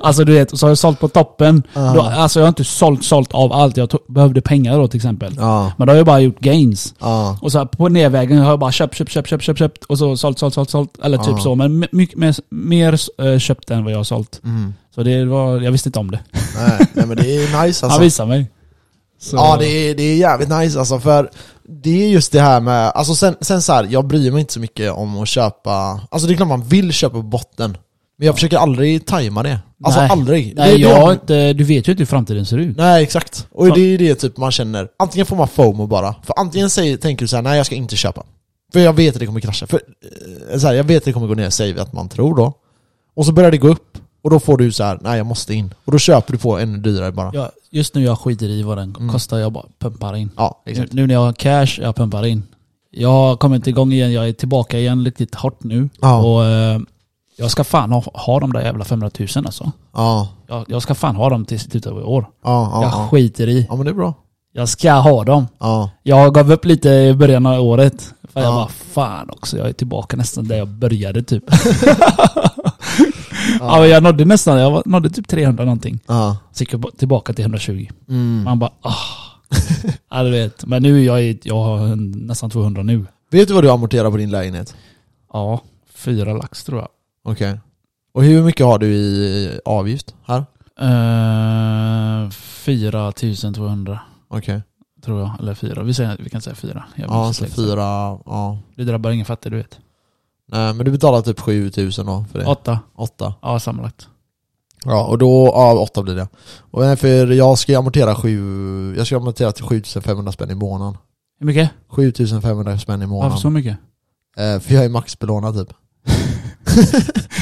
S2: alltså du vet, och så har jag sålt på toppen.
S1: Ja.
S2: Då, alltså jag har inte sålt, sålt av allt. Jag to- behövde pengar då till exempel.
S1: Ja.
S2: Men då har jag bara gjort gains.
S1: Ja.
S2: Och så här, på nedvägen har jag bara köpt, köpt, köpt, köpt, köpt, köpt. Och så sålt, sålt, sålt, sålt. Eller typ
S1: Ja.
S2: så. Men my- mycket mer, mer eh, köpt än vad jag har sålt.
S1: Mm.
S2: Så det var, jag visste inte om det.
S1: Alltså. Nej, nej men det är nice
S2: Han
S1: alltså.
S2: visade mig. Så-
S1: Ja det är, det är jävligt nice alltså för det är just det här med, alltså sen, sen så här, jag bryr mig inte så mycket om att köpa, alltså det är klart man vill köpa på botten. Men jag försöker aldrig tajma det. Alltså
S2: Nej.
S1: aldrig. Det är
S2: Nej,
S1: det
S2: jag har inte, du vet ju inte hur framtiden ser ut.
S1: Nej exakt. Och
S2: Fan.
S1: det är det typ man känner, antingen får man FOMO bara. För antingen säger, tänker du så här: nej jag ska inte köpa. För jag vet att det kommer krascha. För, eh, så här, jag vet att det kommer gå ner, säger vi att man tror då. Och så börjar det gå upp. Och då får du så här: nej jag måste in. Och då köper du på ännu dyrare bara. Ja,
S2: Jag, just nu jag skiter i vad den kostar, jag bara pumpar in.
S1: Mm. exakt.
S2: Nu när jag har cash, jag pumpar in. Jag har kommit igång igen, jag är tillbaka igen riktigt hårt nu.
S1: Ja.
S2: Och eh, jag ska fan ha, ha de där jävla 500 000 alltså.
S1: Ja.
S2: Jag, jag ska fan ha dem till slutet av i år.
S1: Ja, ja,
S2: jag
S1: ja.
S2: skiter i.
S1: Ja men det är bra.
S2: Jag ska ha dem.
S1: Ja.
S2: Jag gav upp lite i början av året. För jag
S1: Ja.
S2: bara, fan också, jag är tillbaka nästan där jag började typ. ja. men jag nådde nästan, jag var- nådde typ 300 någonting.
S1: Ja.
S2: Så gick jag bo- tillbaka till 120.
S1: Mm.
S2: Man bara ah. ja, du vet. Men nu är jag, i- jag har en- nästan 200 nu.
S1: Vet du vad du amorterar på din lägenhet?
S2: Ja, fyra lax tror jag.
S1: Okej. Och hur mycket har du i avgift här?
S2: Uh, 4200
S1: Okej.
S2: tror jag. Eller fyra. Vi, säger, vi kan säga fyra. Jag
S1: Ja,
S2: minns
S1: så
S2: inte
S1: fyra, ja.
S2: exakt. Det drabbar ingen fattig, du vet.
S1: Nej, men du betalar typ 7000 då för det?
S2: Åtta.
S1: Åtta.
S2: Ja, sammanlagt.
S1: Ja, och då, ja, åtta blir det. Och nej, för jag ska ju amortera sju, jag ska amortera till 7500 spänn i månaden.
S2: Hur mycket?
S1: 7500 spänn i månaden.
S2: Varför så mycket?
S1: Eh, för jag är maxbelånad typ.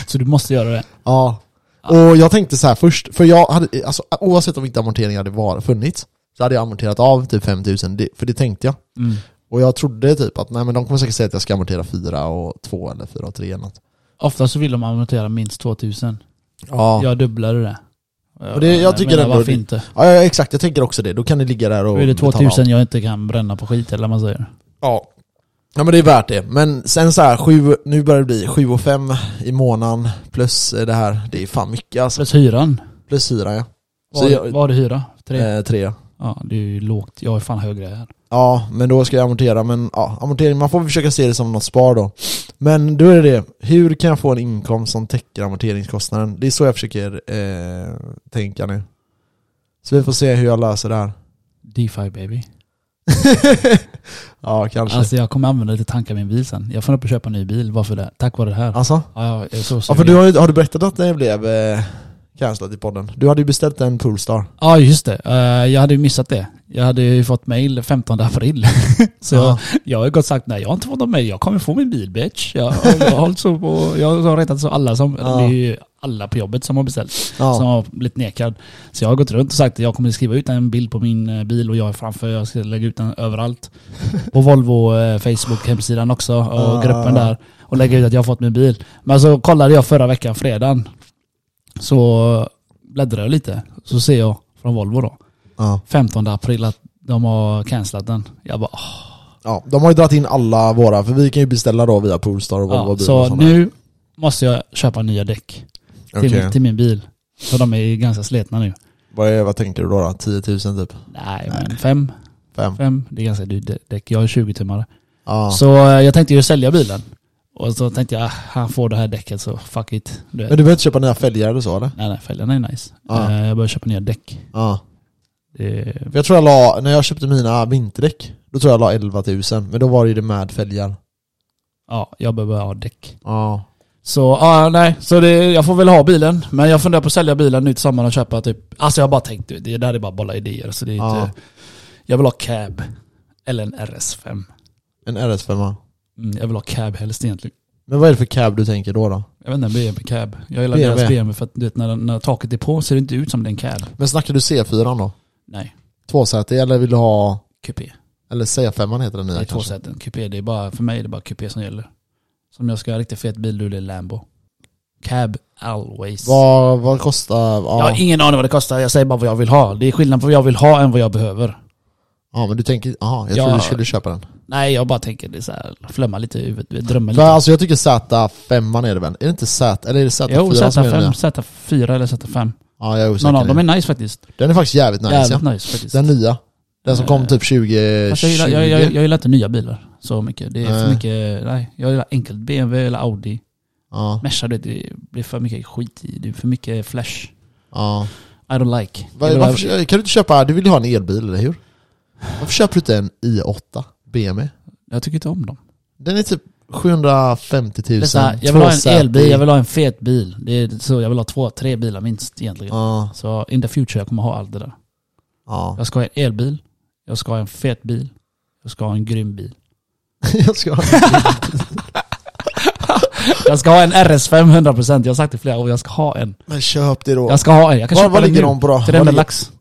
S2: Så du måste göra det?
S1: Ja.
S2: Ja.
S1: Och jag tänkte så här först, för jag hade, alltså, oavsett om inte amortering hade var, funnits, så hade jag amorterat av typ 5000, det, för det tänkte jag.
S2: Mm.
S1: Och jag trodde typ att nej men de kommer säkert säga att jag ska amortera 4 och 2 eller 4 och 3 eller något.
S2: Ofta så vill de amortera minst 2000.
S1: Ja. ja.
S2: Jag dubblade det. Och
S1: det- jag tycker
S2: menar,
S1: ändå
S2: Varför
S1: det-
S2: inte?
S1: Ja, exakt, jag tänker också det. Då kan det ligga där och
S2: Då är det
S1: betala
S2: 2000
S1: av.
S2: jag inte kan bränna på skit eller vad man säger.
S1: Ja. Ja men det är värt det. Men sen så här, sju, nu börjar det bli 7 och 5 i månaden plus eh, det här. Det är fan mycket alltså.
S2: Plus hyran.
S1: Plus 4 ja. Så
S2: Vad
S1: jag-
S2: vad har du hyra? Tre?
S1: 3. Eh, tre.
S2: Ja, det är ju lågt. Jag är fan högre här.
S1: Ja, men då ska jag amortera. Men ja, amortering, man får försöka se det som något spar då. Men då är det det. Hur kan jag få en inkomst som täcker amorteringskostnaden? Det är så jag försöker eh, tänka nu. Så vi får se hur jag löser det här.
S2: DeFi baby.
S1: ja, kanske. Alltså,
S2: Alltså jag kommer använda det till att tanka min bil sen. Jag funderar på att köpa en ny bil. Varför det? Tack vare det här.
S1: alltså?
S2: Ja, jag är så
S1: Ja, för du har, ju- har du berättat att det blev eh, cancelat i podden. Du hade ju beställt en Polestar.
S2: Ja, just det. Eh, jag hade ju missat det. Jag hade ju fått mail 15 april. så
S1: Ja.
S2: jag har ju gått sagt nej, jag har inte fått någon mail. Jag kommer få min bil bitch. Jag, jag, har, hållit så på, jag har rättat så alla som,
S1: Ja.
S2: det är ju alla på jobbet som har beställt.
S1: Ja.
S2: som har blivit nekad. Så jag har gått runt och sagt att jag kommer skriva ut en bild på min eh, bil och jag är framför, jag ska lägga ut den överallt. På Volvo eh, Facebook hemsidan också och
S1: Ah.
S2: gruppen där. Och lägga ut att jag har fått min bil. Men så kollade jag förra veckan, fredagen. Så bläddrade jag lite. Så ser jag från Volvo då,
S1: Ja.
S2: 15 april att de har cancelat den. Jag bara, ah,
S1: ja. De har ju dragit in alla våra, för vi kan ju beställa då via Polestar och Volvo bil
S2: ja.
S1: och
S2: ah." Så
S1: sådana.
S2: nu måste jag köpa nya däck till,
S1: Okej.
S2: min, till min bil. Så de är ganska sletna nu.
S1: Vad, är, vad tänker du då? då? 10 000 typ?
S2: Nej, men fem.
S1: Fem?
S2: fem det är ganska dyrt dä- däck. Jag har 20 tummare.
S1: Ja.
S2: Så eh, jag tänkte ju sälja bilen. Och så tänkte jag, ah, han får det här däcket så fuck it. Du vet.
S1: Men du behöver inte köpa nya fälgar eller så eller?
S2: Nej nej, fälgarna är nice.
S1: Ja.
S2: Eh, Jag börjar köpa nya däck.
S1: Ja.
S2: Det,
S1: För jag tror jag la, när jag köpte mina vinterdäck, då tror jag la 11 000. Men då var det ju det med fälgar.
S2: ja, jag behöver ha däck.
S1: Ja.
S2: Så ja, nej, så det, jag får väl ha bilen. Men jag funderar på att sälja bilen nu till sommaren och köpa typ, alltså jag har bara tänkt, du vet, det där är bara bolla idéer. Så det är
S1: Ja.
S2: inte, jag vill ha cab. Eller en RS5.
S1: En RS5.
S2: Mm, jag vill ha cab helst egentligen.
S1: Men vad är det för cab du tänker då? då?
S2: Jag vet inte, en BMW cab. Jag gillar
S1: BMW.
S2: deras BMW för att du vet, när, den- när taket är på ser det inte ut som den cab.
S1: Men snackar du C4 då?
S2: Nej.
S1: Tvåsätig eller vill du ha...
S2: kupé.
S1: Eller C5 heter den nya
S2: Det är två
S1: kanske?
S2: sätten. Kupé, det är bara, för mig är det bara kupé som gäller. Som jag ska ha riktigt fet bil, då är det Lambo. Cab always.
S1: Vad, vad kostar... Ja.
S2: Jag har ingen aning vad det kostar, jag säger bara vad jag vill ha. Det är skillnad på vad jag vill ha än vad jag behöver.
S1: Ja men du tänker, aha, jag
S2: Ja.
S1: trodde du skulle köpa den.
S2: Nej, jag bara tänker det är så här, flämma lite i huvudet, drömma
S1: För
S2: lite.
S1: alltså jag tycker Z5 är det väl? Är det inte Z, eller är det Z4
S2: Jo,
S1: som är den
S2: Z5,
S1: nya?
S2: Z4 eller Z5.
S1: Ja jag är osäker.
S2: Någon av
S1: nu.
S2: dem är nice faktiskt.
S1: Den är faktiskt jävligt nice
S2: Jävligt
S1: ja.
S2: nice faktiskt.
S1: Den nya. Den som kom
S2: Eh,
S1: typ 2020.
S2: Fast jag, gillar, jag, jag, jag gillar inte nya bilar så mycket. Det är för
S1: Nej.
S2: mycket, nej. Jag gillar enkelt BMW eller Audi.
S1: Ja,
S2: Merca, det- det blir för mycket skit i. Det är för mycket flash.
S1: ja.
S2: I don't like.
S1: Var,
S2: Jag vill ha-
S1: varför, kan du inte köpa, du vill ju ha en elbil eller hur? Varför köper du inte en i8 BMW?
S2: Jag tycker inte om dem.
S1: Den är typ 750 000.
S2: Det är så här, jag vill ha en
S1: tvåsätig.
S2: elbil, jag vill ha en fet bil. Det är så, jag vill ha två, tre bilar minst egentligen.
S1: Ja,
S2: Så in the future, jag kommer ha allt det där.
S1: ja.
S2: Jag ska ha en elbil, jag ska ha en fet bil, jag ska ha en grym bil.
S1: jag ska ha
S2: Jag ska ha en RS5 100%, jag har sagt det flera år, jag ska ha en.
S1: Men köp det då.
S2: Jag ska ha en, jag kan
S1: Vad
S2: köpa
S1: vad
S2: den
S1: ligger
S2: nu.
S1: de på då? Vad
S2: 300
S1: ligger-
S2: lax.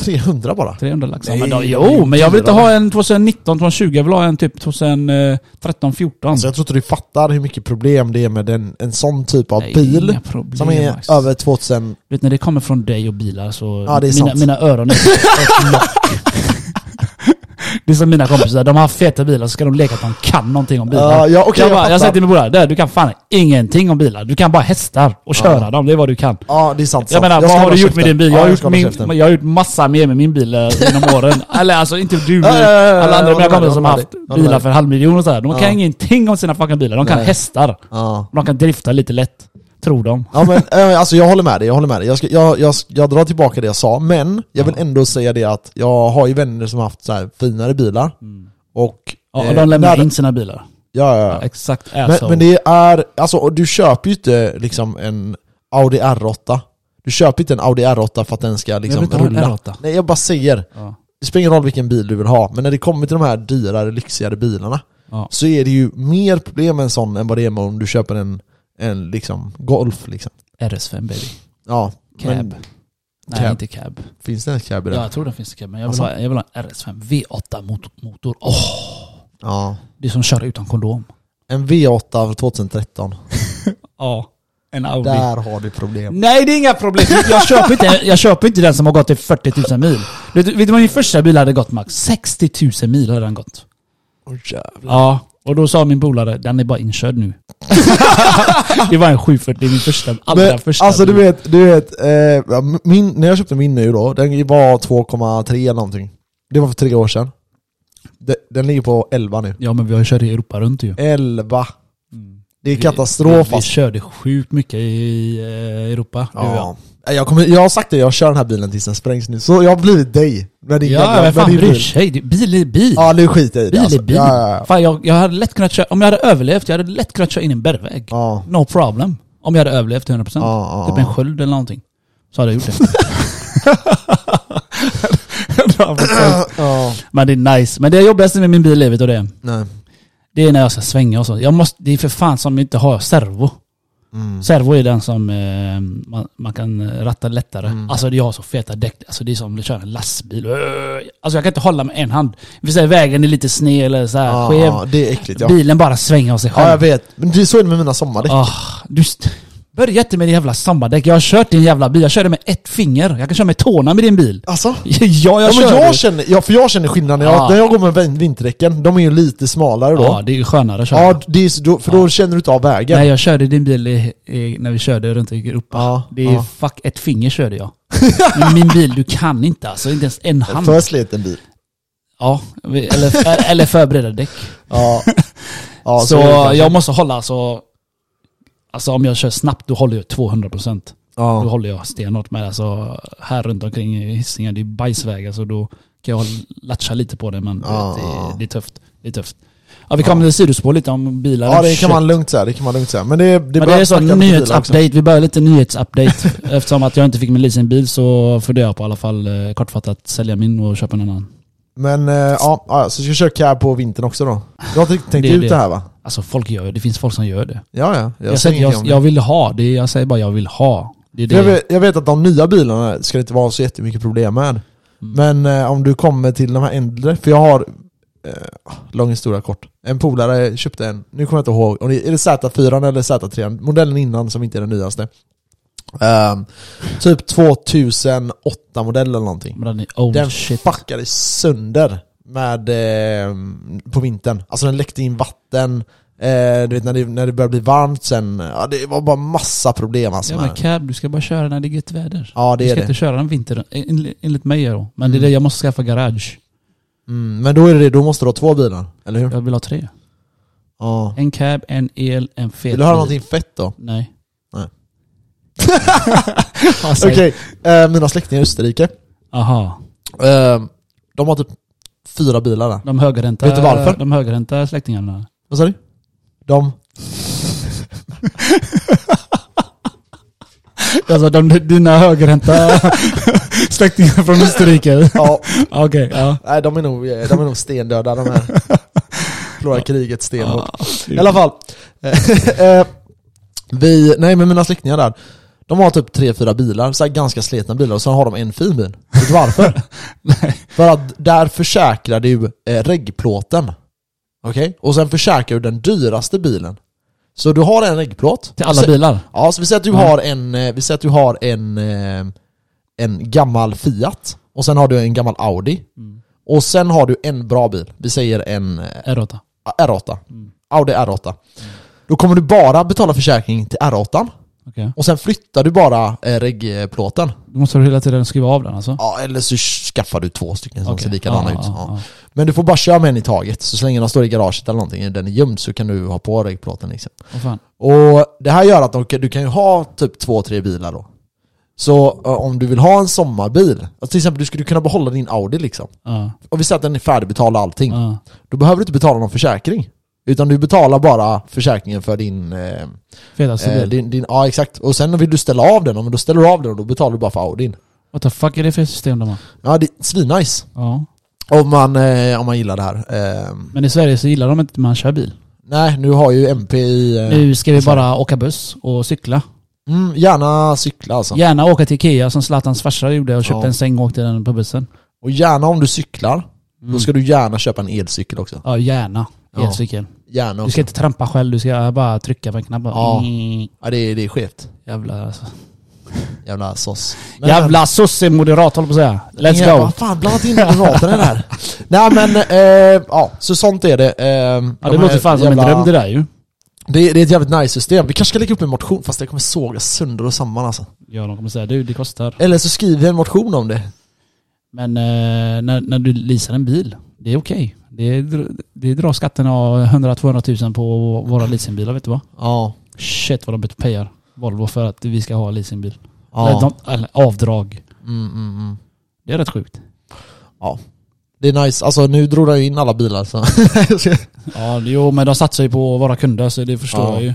S1: 300 bara?
S2: 300 lax. Ja,
S1: Nej,
S2: men då,
S1: det
S2: jo,
S1: är
S2: men jag vill inte
S1: dyrare.
S2: ha en 2019, 2020, jag vill ha en typ 2013, 14.
S1: Alltså jag tror inte du fattar hur mycket problem det är med en, en sån typ av
S2: Nej,
S1: bil.
S2: inga problem,
S1: Som är
S2: Max.
S1: över 2000...
S2: Du vet när det kommer från dig och bilar så...
S1: Ja, det är
S2: mina,
S1: sant.
S2: mina öron är ett lock. Det är som mina kompisar, de har feta bilar så ska de leka att de kan någonting om bilar.
S1: Ja, ja, okej,
S2: jag,
S1: jag
S2: bara, jag
S1: fattar.
S2: säger till min bror, där, du kan fan ingenting om bilar. Du kan bara hästar och köra dem, det är vad du kan.
S1: Ja det är sant.
S2: Jag
S1: sant.
S2: menar,
S1: ska
S2: vad har
S1: hålla
S2: du gjort
S1: käften.
S2: med din bil?
S1: Ja,
S2: Jag
S1: ska
S2: har, gjort
S1: hålla
S2: min,
S1: käften.
S2: jag har gjort massa mer med min bil eh, genom åren. Eller alltså inte du, men
S1: Ja, ja, ja, ja, jag
S2: alla andra av mina
S1: håller
S2: kompisar
S1: med,
S2: som
S1: jag håller
S2: har haft
S1: med.
S2: bilar för en halv miljon och sådär. De
S1: Ja.
S2: kan ingenting om sina fucking bilar. De kan
S1: Nej.
S2: hästar.
S1: Ja.
S2: De kan drifta lite lätt, tror de.
S1: Ja men eh, alltså jag håller med dig, jag håller med dig. Jag, ska, jag, jag, jag drar tillbaka det jag sa, men jag vill ändå säga det att jag har ju vänner som har haft så här finare bilar. Och...
S2: Mm. Ja,
S1: eh,
S2: och de lämnar
S1: när-
S2: in sina bilar.
S1: Ja, ja,
S2: Ja,
S1: ja.
S2: Exakt
S1: Men,
S2: asshole.
S1: men det är, alltså och du köper ju inte liksom en Audi R8. Du köper inte en Audi R8 för att den ska liksom
S2: inte ha en
S1: rulla.
S2: R8.
S1: Nej jag bara säger.
S2: Ja.
S1: Det spelar ingen roll vilken bil du vill ha, men när det kommer till de här dyrare, lyxigare bilarna
S2: Ja.
S1: så är det ju mer problem med en sån än vad det är med om du köper en, en liksom Golf liksom.
S2: RS5 baby.
S1: Ja,
S2: Cab.
S1: men
S2: Nej,
S1: Cab.
S2: inte cab.
S1: finns det ens cab i
S2: Ja,
S1: den?
S2: jag tror den finns i cab, men jag vill,
S1: Alltså.
S2: ha, jag vill ha en RS5 V8-motor. Åh,
S1: Ja.
S2: det är som att köra utan kondom.
S1: En V8 från 2013.
S2: Ja, en Audi.
S1: Där har du problem.
S2: Nej, det är inga problem. Jag köper inte, jag köper inte den som har gått i 40 000 mil. Vet du vet du vad min första bil hade gått Max? 60 000 mil hade den gått.
S1: Åh jävlar.
S2: Ja, och då sa min polare, den är bara inkörd nu. det var en 740, min första, allra
S1: Men,
S2: första.
S1: alltså du
S2: bil.
S1: vet, du vet eh, min, när jag köpte min nu då, den var 2,3 eller någonting. Det var för tre år sedan. Den, den ligger på 11 nu.
S2: Ja, men vi har ju kört i Europa runt ju.
S1: 11! Det är
S2: Vi,
S1: katastrof
S2: vi
S1: alltså.
S2: körde sjukt mycket i eh, Europa. du och jag.
S1: Ja. Nej, Jag, kommer, jag har sagt det, jag kör den här bilen tills den sprängs nu. Så jag har blivit dig. Med din
S2: Ja,
S1: jävla-
S2: men
S1: med
S2: fan
S1: din
S2: bryr
S1: bil.
S2: sig? Det- Bil är bil.
S1: Ja, nu skiter jag i det
S2: bil
S1: alltså.
S2: är bil.
S1: Ja, ja, ja.
S2: Fan, jag, jag hade lätt kunnat köra, om jag hade överlevt, jag hade lätt kunnat köra in i en bergvägg.
S1: Ja.
S2: No problem. Om jag hade överlevt 100%.
S1: Ja, ja,
S2: typ
S1: ja.
S2: en sköld eller någonting. Så hade jag gjort det. Då hade jag försökt.
S1: Ja.
S2: Men det är nice. Men det jobbigaste med min bil i livet och det,
S1: Nej.
S2: det är när jag ska svänga och så. Jag måste, det är för fan som inte har servo.
S1: Mm.
S2: Servo är den som eh, man, man kan ratta lättare.
S1: Mm.
S2: Alltså jag har så feta däck. Alltså det är som att köra en lastbil. Öh. Alltså jag kan inte hålla med en hand. Vi säger vägen är lite sned eller så här
S1: Ja,
S2: skev.
S1: Ah, det är äckligt ja.
S2: Bilen bara svänger av sig
S1: Ja jag
S2: själv.
S1: vet, men det är så är det med mina sommardäck.
S2: Ah, du st- börja inte med din jävla sommardäck. Jag har kört din jävla bil. Jag körde med ett finger. Jag kan köra med tårna med din bil.
S1: Alltså?
S2: ja, jag
S1: Ja, men
S2: kör.
S1: jag känner, ja, för jag känner skillnad när jag,
S2: Ja.
S1: när jag går med vin- vinterdäcken, de är ju lite smalare då.
S2: Ja, det är ju skönare att köra.
S1: Ja, det är, så- då, för då känner du inte av vägen.
S2: Nej, jag körde din bil i, i, när vi körde runt i Europa.
S1: Ja,
S2: det är
S1: ja.
S2: fuck, ett finger körde jag. Men min bil, du kan inte alltså. Inte ens en hand.
S1: För sliten bil.
S2: Ja, vi- eller, eller förberedda däck.
S1: Ja. ja
S2: så
S1: är det kanske.
S2: jag måste hålla alltså... Alltså om jag kör snabbt, då håller jag 200%. Då
S1: ja.
S2: håller jag stenhårt med. Alltså här runt omkring i Hisingen, det är bajsvägar så då kan jag latcha lite på det men du
S1: Ja,
S2: vet,
S1: ja.
S2: det, det är tufft. Det är tufft. Ja, vi kommer till sidospår lite om bilar.
S1: ja, det
S2: Shit.
S1: kan man lugnt säga. Det kan man lugnt säga. Men det, det
S2: Men det är
S1: behövs
S2: så,
S1: snacka lite bilar också.
S2: nyhetsupdate. Vi börjar lite nyhetsupdate. Eftersom att jag inte fick min leasingbil så funderar jag på i alla fall eh, kortfattat sälja min och köpa en annan.
S1: Men eh, ja, ja, så ska jag köra cab på vintern också då. Du har tänkt tänkt
S2: Det är
S1: ut
S2: det.
S1: det här va?
S2: Alltså folk gör det. Det finns folk som gör det.
S1: Ja, ja. Jag,
S2: Jag,
S1: säger
S2: säger,
S1: ingenting om
S2: jag,
S1: det.
S2: jag vill ha. Det, är- jag säger bara jag vill ha. Det är
S1: För Jag,
S2: det.
S1: vet, jag vet att de nya bilarna ska det inte vara så jättemycket problem med.
S2: Mm.
S1: Men eh, om du kommer till de här äldre, för jag har, eh, lång historia kort. En polare köpte en, nu kommer jag inte ihåg, om det, är det Z4 eller Z3? Modellen innan som inte är den nyaste. Ehm, typ 2008 modell eller någonting.
S2: Men den är old
S1: Den
S2: Oh, shit.
S1: fuckade sönder med, eh, på vintern. Alltså den läckte in vatten, eh, du vet när det, när det började bli varmt sen. Ja, det var bara massa problem alltså.
S2: Ja
S1: med
S2: men
S1: den.
S2: cab, du ska bara köra när det är gött väder.
S1: ja
S2: du
S1: det är det.
S2: ska inte köra den vinter, en- enligt mig då. Men det
S1: Mm.
S2: är det, jag måste skaffa garage.
S1: Mm, men då är det det, då måste du ha två bilar, eller hur?
S2: Jag vill ha tre.
S1: Ja.
S2: En cab, en el, en fet
S1: Vill du höra
S2: bil.
S1: någonting fett då?
S2: Nej.
S1: Nej.
S2: alltså,
S1: Okej, eh, mina släktingar i Österrike,
S2: Aha.
S1: eh, de har typ fyra bilar där.
S2: De högränta,
S1: Vet du varför?
S2: De högränta släktingarna.
S1: Vad sa du? De...
S2: Alltså de, dina högränta släktingar från Österrike.
S1: Ja,
S2: Okej, ja.
S1: nej, de är nog, de är nog stendöda de här. Förlorar kriget stenhårt. I alla
S2: fall.
S1: fall. Eh, Vi, nej men mina släktingar där, de har typ tre, fyra bilar, så här ganska slitna bilar, och sen har de en fin bil. Vet du varför? För att där försäkrar du eh, reggplåten. Okej? Och sen försäkrar du den dyraste bilen. Så du har en reggplåt.
S2: Till alla Mm.
S1: Så-
S2: bilar?
S1: Ja, så vi säger att du
S2: Ja.
S1: har en, eh, vi säger att du har en, eh, en gammal Fiat, och sen har du en gammal Audi.
S2: Mm.
S1: Och sen har du en bra bil, vi säger en eh,
S2: R8.
S1: R8.
S2: Mm.
S1: Audi R8. Då kommer du bara betala försäkring till R8
S2: Okej.
S1: och sen flyttar du bara eh, reggplåten.
S2: Då måste du hela tiden skruva av den alltså?
S1: Ja, eller så skaffar du två stycken som
S2: Okej.
S1: ser likadana
S2: Ja,
S1: ut.
S2: ja,
S1: Ja. Men du får bara köra med en i taget, så så länge den står i garaget eller någonting, eller den är gömd, så kan du ha på reggplåten liksom.
S2: ja. Åh, fan.
S1: Och det här gör att de, kan- du kan ju ha typ två, tre bilar då. Så eh, om du vill ha en sommarbil, alltså till exempel du skulle kunna behålla din Audi liksom.
S2: Ja.
S1: Om vi säger att den är färdigbetald och allting.
S2: Ja.
S1: Då behöver du inte betala någon försäkring. Utan du betalar bara försäkringen för din... Eh,
S2: Fetaste
S1: eh,
S2: bil.
S1: din, din ja, exakt. Och sen vill du ställa av den, ja, men då ställer du av den och då betalar du bara för Audin.
S2: What the fuck är det för system de har?
S1: Ja, det är svinnice.
S2: Ja.
S1: Om man, eh, om man gillar det här. Eh,
S2: Men i Sverige så gillar de inte att man kör bil.
S1: nej, nu har ju MP i... Eh,
S2: Nu ska vi bara åka buss och cykla.
S1: mm, gärna cykla alltså.
S2: Gärna åka till Ikea som Zlatans farsa gjorde och köpte
S1: Ja.
S2: en säng och åkte den på bussen.
S1: Och gärna om du cyklar,
S2: Mm.
S1: då ska du gärna köpa en elcykel också.
S2: Ja, gärna.
S1: Ja.
S2: Elcykel.
S1: Gärna
S2: Du
S1: också.
S2: ska inte trampa själv, du ska bara trycka på en knapp.
S1: Ja.
S2: Ja.
S1: Ja, det, är- det är skevt.
S2: Jävla, alltså.
S1: Jävla sås. Men-
S2: Jävla sosse-moderat håller på att säga. Let's
S1: Ja,
S2: go.
S1: Vad fan, blanda inte in moderaterna i det här. Nej men, eh, ja, så sånt är det. Eh,
S2: Ja, det låter fan som en dröm det där ju.
S1: Det, det är ett jävligt nice system. Vi kanske ska lägga upp en motion, fast det kommer såga sönder och samman alltså.
S2: Ja, de kommer säga du, det kostar.
S1: Eller så skriver vi en motion om det.
S2: Men eh, när, när du leasar en bil, det är okej. Det, dr- det drar skatten av 100-200 000 på våra leasingbilar, vet du vad?
S1: Ja.
S2: Shit vad de payar Volvo för att vi ska ha leasingbil. Eller,
S1: ja.
S2: de, eller avdrag.
S1: Mm, mm, mm.
S2: Det är rätt sjukt.
S1: Det är nice. Alltså nu drog jag ju in alla bilar så.
S2: Ja, jo men de satsar ju på våra kunder så det förstår
S1: Ja.
S2: jag ju.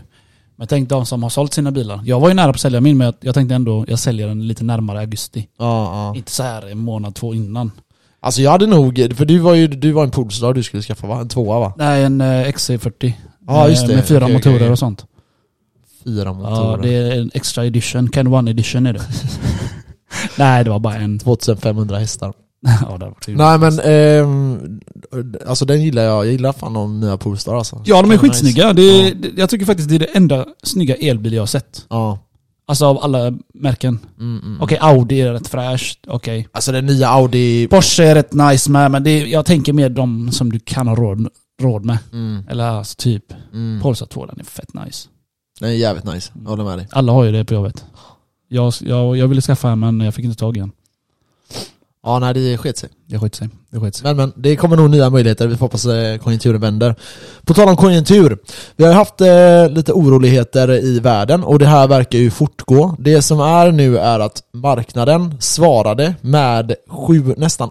S2: Men tänk de som har sålt sina bilar. Jag var ju nära på att sälja min, men jag, jag tänkte ändå jag säljer den lite närmare augusti.
S1: Ja, ja.
S2: Inte så här en månad, två innan.
S1: Alltså jag hade nog, för du var ju du var en Polestar du skulle skaffa va? En tvåa va?
S2: Nej, en eh, XC40.
S1: Ja,
S2: med,
S1: just det.
S2: Eh, med fyra
S1: Okej,
S2: motorer
S1: okej, okej.
S2: och sånt.
S1: Fyra
S2: Ja,
S1: motorer.
S2: det är en extra edition. Can one edition är det. Nej, det var bara en.
S1: 2500 hästar.
S2: ja, det var kul.
S1: Nej men, ehm, alltså den gillar jag. Jag gillar fan de nya Polestar alltså.
S2: Ja, de är
S1: Nice.
S2: skitsnygga. Det är, det- Jag tycker faktiskt det är det enda snygga elbil jag har sett.
S1: Ja.
S2: Alltså av alla märken.
S1: Mm, mm.
S2: Okej, Audi är rätt fräscht. Okej.
S1: Alltså den nya Audi...
S2: Porsche är rätt nice med, men det är, jag tänker mer de som du kan ha råd, råd med.
S1: Mm,
S2: Eller alltså typ,
S1: mm.
S2: Polestar 2, den är fett nice.
S1: Den är jävligt nice. Jag håller med dig.
S2: Alla har ju det på jobbet. Jag, jag, jag ville skaffa en men jag fick inte tag i en.
S1: Ja nej det sket sig.
S2: Det skit sig. Det skit sig.
S1: Men men, det kommer nog nya möjligheter. Vi får hoppas eh, konjunkturen vänder. På tal om konjunktur. Vi har ju haft eh, lite oroligheter i världen och det här verkar ju fortgå. Det som är nu är att marknaden svarade med sju, nästan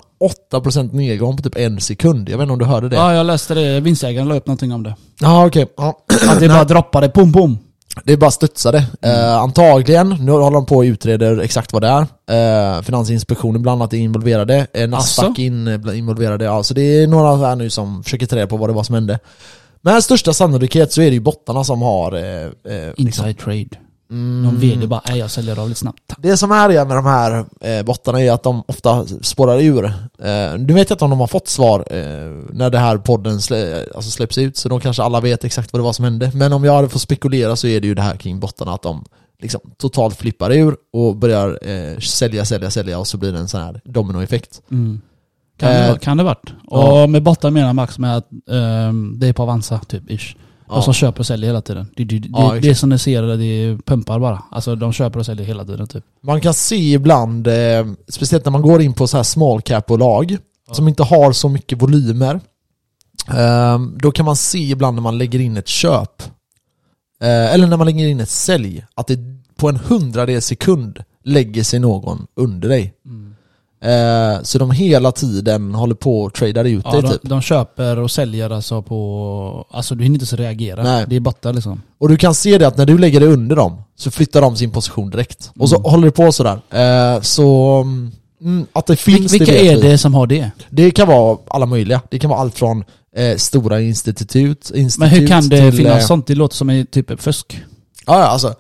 S1: 8% nedgång på typ en sekund. Jag vet inte om du hörde det? Ja,
S2: Ja, jag läste det. Vinstjägaren la upp någonting om det.
S1: okej. Ja.
S2: Att det bara droppade, pom pom.
S1: Det bara studsade. Eh, antagligen, nu håller de på och utreder exakt vad det är. Eh, Finansinspektionen bland annat är involverade. Eh, Nasdaq
S2: Asså?
S1: är in, eh, involverade. Ja, så det är några här nu som försöker ta reda på vad det var som hände. Med största sannolikhet så är det ju bottarna som har... Eh, eh,
S2: Inside trade. Mm. Någon vd bara, nej jag säljer av lite snabbt.
S1: det som är det med de här eh, bottarna är att de ofta spårar ur. Eh, du vet ju inte om de har fått svar eh, när det här podden slä, alltså släpps ut, så då kanske alla vet exakt vad det var som hände. Men om jag hade fått spekulera så är det ju det här kring bottarna, att de liksom totalt flippar ur och börjar eh, sälja, sälja, sälja och så blir det en sån här dominoeffekt.
S2: Mm. Kan, det,
S1: Eh,
S2: vara- kan det varit.
S1: ja.
S2: Och med bottar menar Max med att ehm, det är på Avanza typ ish.
S1: Ja.
S2: Och som köper och säljer hela tiden. Det, det, det,
S1: Ja,
S2: det,
S1: exakt.
S2: det som ni ser det är pumpar bara. Alltså de köper och säljer hela tiden typ.
S1: Man kan se ibland, eh, speciellt när man går in på så här small cap-bolag som inte har så mycket volymer. Eh, då kan man se ibland när man lägger in ett köp eh, eller när man lägger in ett sälj att det på en hundradels sekund lägger sig någon under dig.
S2: Mm.
S1: Eh, så de hela tiden håller på och tradar ut
S2: Ja,
S1: dig
S2: de,
S1: typ.
S2: de köper och säljer alltså på... Alltså du hinner inte så reagera.
S1: Nej.
S2: Det är bottar liksom.
S1: Och du kan se det att när du lägger dig under dem så flyttar de sin position direkt. Och
S2: Mm.
S1: så håller det på sådär. Eh, så mm, att det finns
S2: Vilka
S1: vet
S2: är
S1: vi.
S2: det som har det?
S1: Det kan vara alla möjliga. Det kan vara allt från eh, stora institut, institut
S2: Men hur kan det
S1: till,
S2: finnas
S1: eh,
S2: sånt? Det låter som en typ fusk.
S1: Ja, ja, alltså.